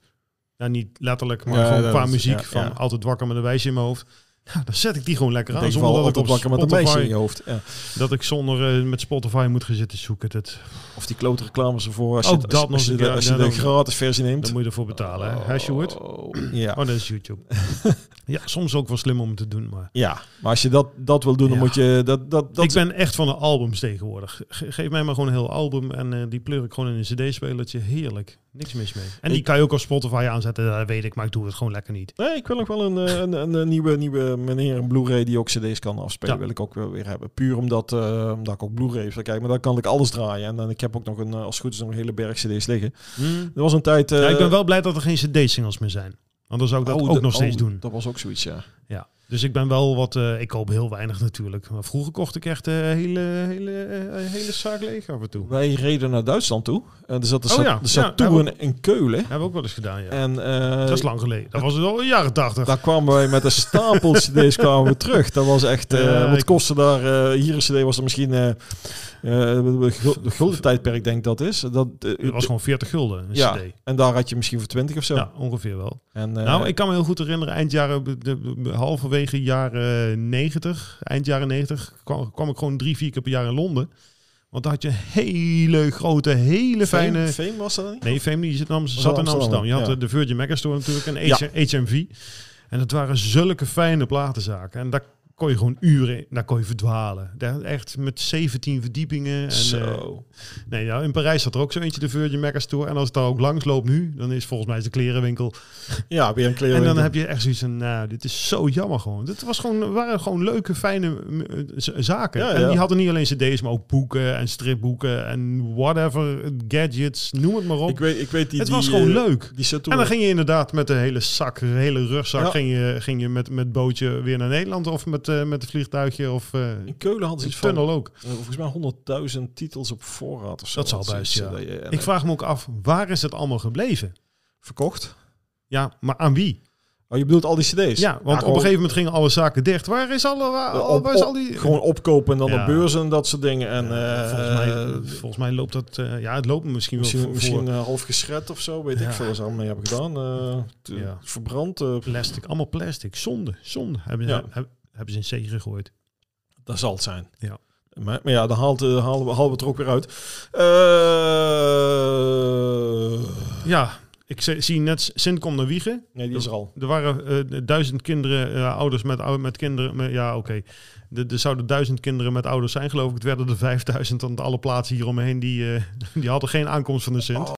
Nou, niet letterlijk, maar
Ja,
gewoon
dat
qua
is-
muziek.
ja,
van
ja.
altijd wakker met een wijsje in mijn hoofd. Nou, dan zet ik die gewoon lekker
In
aan.
ieder
Zonder
geval
dat ik op
altijd wakker met een meisje in
Spotify,
je hoofd. Ja.
dat ik zonder eh, met Spotify moet gaan zitten zoeken. Dat,
Of die klote reclames ervoor als je, als,
Ook Oh,
als
dat nog
je
eens
de,
een keer.
als je
Ja,
de
dan-
gratis versie neemt.
dan moet je ervoor betalen. hè? Hè, Sjoerd?
Oh, Ja.
Oh, dat is YouTube. ja, soms ook wel slim om te doen, maar...
ja, maar als je dat, dat wil doen, dan
Ja.
moet je... Dat, dat, dat
ik ben echt van de albums tegenwoordig. Ge- geef mij maar gewoon een heel album en eh, die pleur ik gewoon in een cd-spelertje. Heerlijk. Niks mis mee. En die
Ik-
kan je ook op Spotify aanzetten, dat weet ik, maar ik doe het gewoon lekker niet.
Nee, ik wil ook wel een, eh, een, een, een nieuwe, nieuwe meneer een Blu-ray die ook CD's kan afspelen.
Ja.
Wil ik ook wel weer hebben. Puur omdat, eh, omdat ik ook Blu-rays wil kijken. Maar dan kan ik alles draaien. En dan, ik heb ook nog een, eh, als het goed is, nog een hele berg CD's liggen. Er was een tijd. Hm? eh,
ja, ik ben wel blij dat er geen cd-singles meer zijn. Anders zou ik dat
oh,
ook
de-
nog steeds
oh,
doen.
Dat was ook zoiets, ja.
Ja. Dus ik ben wel wat... eh, ik koop heel weinig natuurlijk. Maar vroeger kocht ik echt eh, hele, hele, eh, hele zaak leeg af en toe.
Wij reden naar Duitsland toe. En er zat de
Oh, ja.
Saturn
Ja, daar
in, in Keulen.
Hebben we ook wel eens gedaan, ja.
En eh,
dat is lang geleden. Dat was het al in de jaren tachtig.
daar kwamen wij met een stapel CD's kwamen we terug. Dat was echt. eh,
Ja,
wat
ik-
kostte daar? eh, hier een CD was er misschien. eh eh, de gul- de gulden tijdperk, denk ik dat is. Dat, eh,
Het was gewoon 40 gulden, een
Ja.
cd.
En daar had je misschien voor 20 of zo.
Ja, ongeveer wel.
En, eh,
Nou, ik kan me heel goed herinneren, eind jaren, de, de- halverwege jaren 90, eind jaren 90, kwam, kwam ik gewoon drie, vier keer per jaar in Londen. Want daar had je een hele grote,
Fame-
hele fijne...
Fame was dat dan niet?
Nee, Family zat in Amsterdam.
Was
Zat
in
in Amsterdam. Je had
Amsterdam,
eh, de Virgin Megastore natuurlijk en
Ja.
H- HMV. En dat waren zulke fijne platenzaken. En daar kon je gewoon uren, in- daar kon je verdwalen. Daar echt met 17 verdiepingen. En, eh,
Zo.
Nee, ja, in Parijs zat er ook zo eentje, de Virgin Megastore. En als het daar ook langs loopt nu, dan is volgens mij is de klerenwinkel
ja, weer een kleren.
en dan heb je echt zoiets van, nou, dit is zo jammer gewoon. Dit was gewoon, waren gewoon leuke, fijne mm, eh, z- zaken.
Ja,
En
ja.
die hadden niet alleen cd's, maar ook boeken en stripboeken en whatever, gadgets, noem het maar op.
ik weet, ik weet die,
het
die,
was gewoon
eh,
leuk.
Die
En
Saturn.
dan ging je inderdaad met de hele zak, de hele rugzak,
Ja.
ging je, ging je met, met bootje weer naar Nederland of met, eh met een vliegtuigje of eh
in Keulen hadden ze
een
iets van,
tunnel ook.
eh, volgens mij 100.000 titels op voorraad of zo.
Dat zal
is
best,
iets,
ja.
eh, dat je- en,
Ik
eh,
vraag me ook af, waar is het allemaal gebleven?
verkocht.
Ja, maar aan wie?
Oh, je bedoelt al die cd's?
Ja, want op een
gewoon-
gegeven moment gingen alle zaken dicht. Waar is alle, waar,
eh,
waar is
op-
al die...
Gewoon opkopen en dan
Ja.
op beurzen en dat soort dingen. En,
Ja,
eh,
volgens, mij,
eh,
volgens mij loopt dat... eh, ja, het loopt misschien,
misschien,
wel voor,
misschien
voor
eh, half geschred of zo. Weet
Ja.
ik veel wat ze allemaal mee hebben gedaan. Eh, te-
Ja.
Verbrand. eh,
plastic. Allemaal plastic. Zonde, zonde. Hebben,
Ja.
heb- hebben ze in zee gegooid.
Dat zal het zijn.
Ja.
Maar, maar ja, dan haalt, eh, halen, we, halen we het er ook weer uit. Eh,
Ja, ik ze- zie net Sint komt naar Wiegen.
nee, die is er al.
Er waren eh, duizend kinderen, eh, ouders met, ou- met kinderen. met- ja, oké. De- Er zouden duizend kinderen met ouders zijn, geloof ik. Het werden er vijfduizend, want alle plaatsen hier om me heen... die, eh, die hadden geen aankomst van de Sint.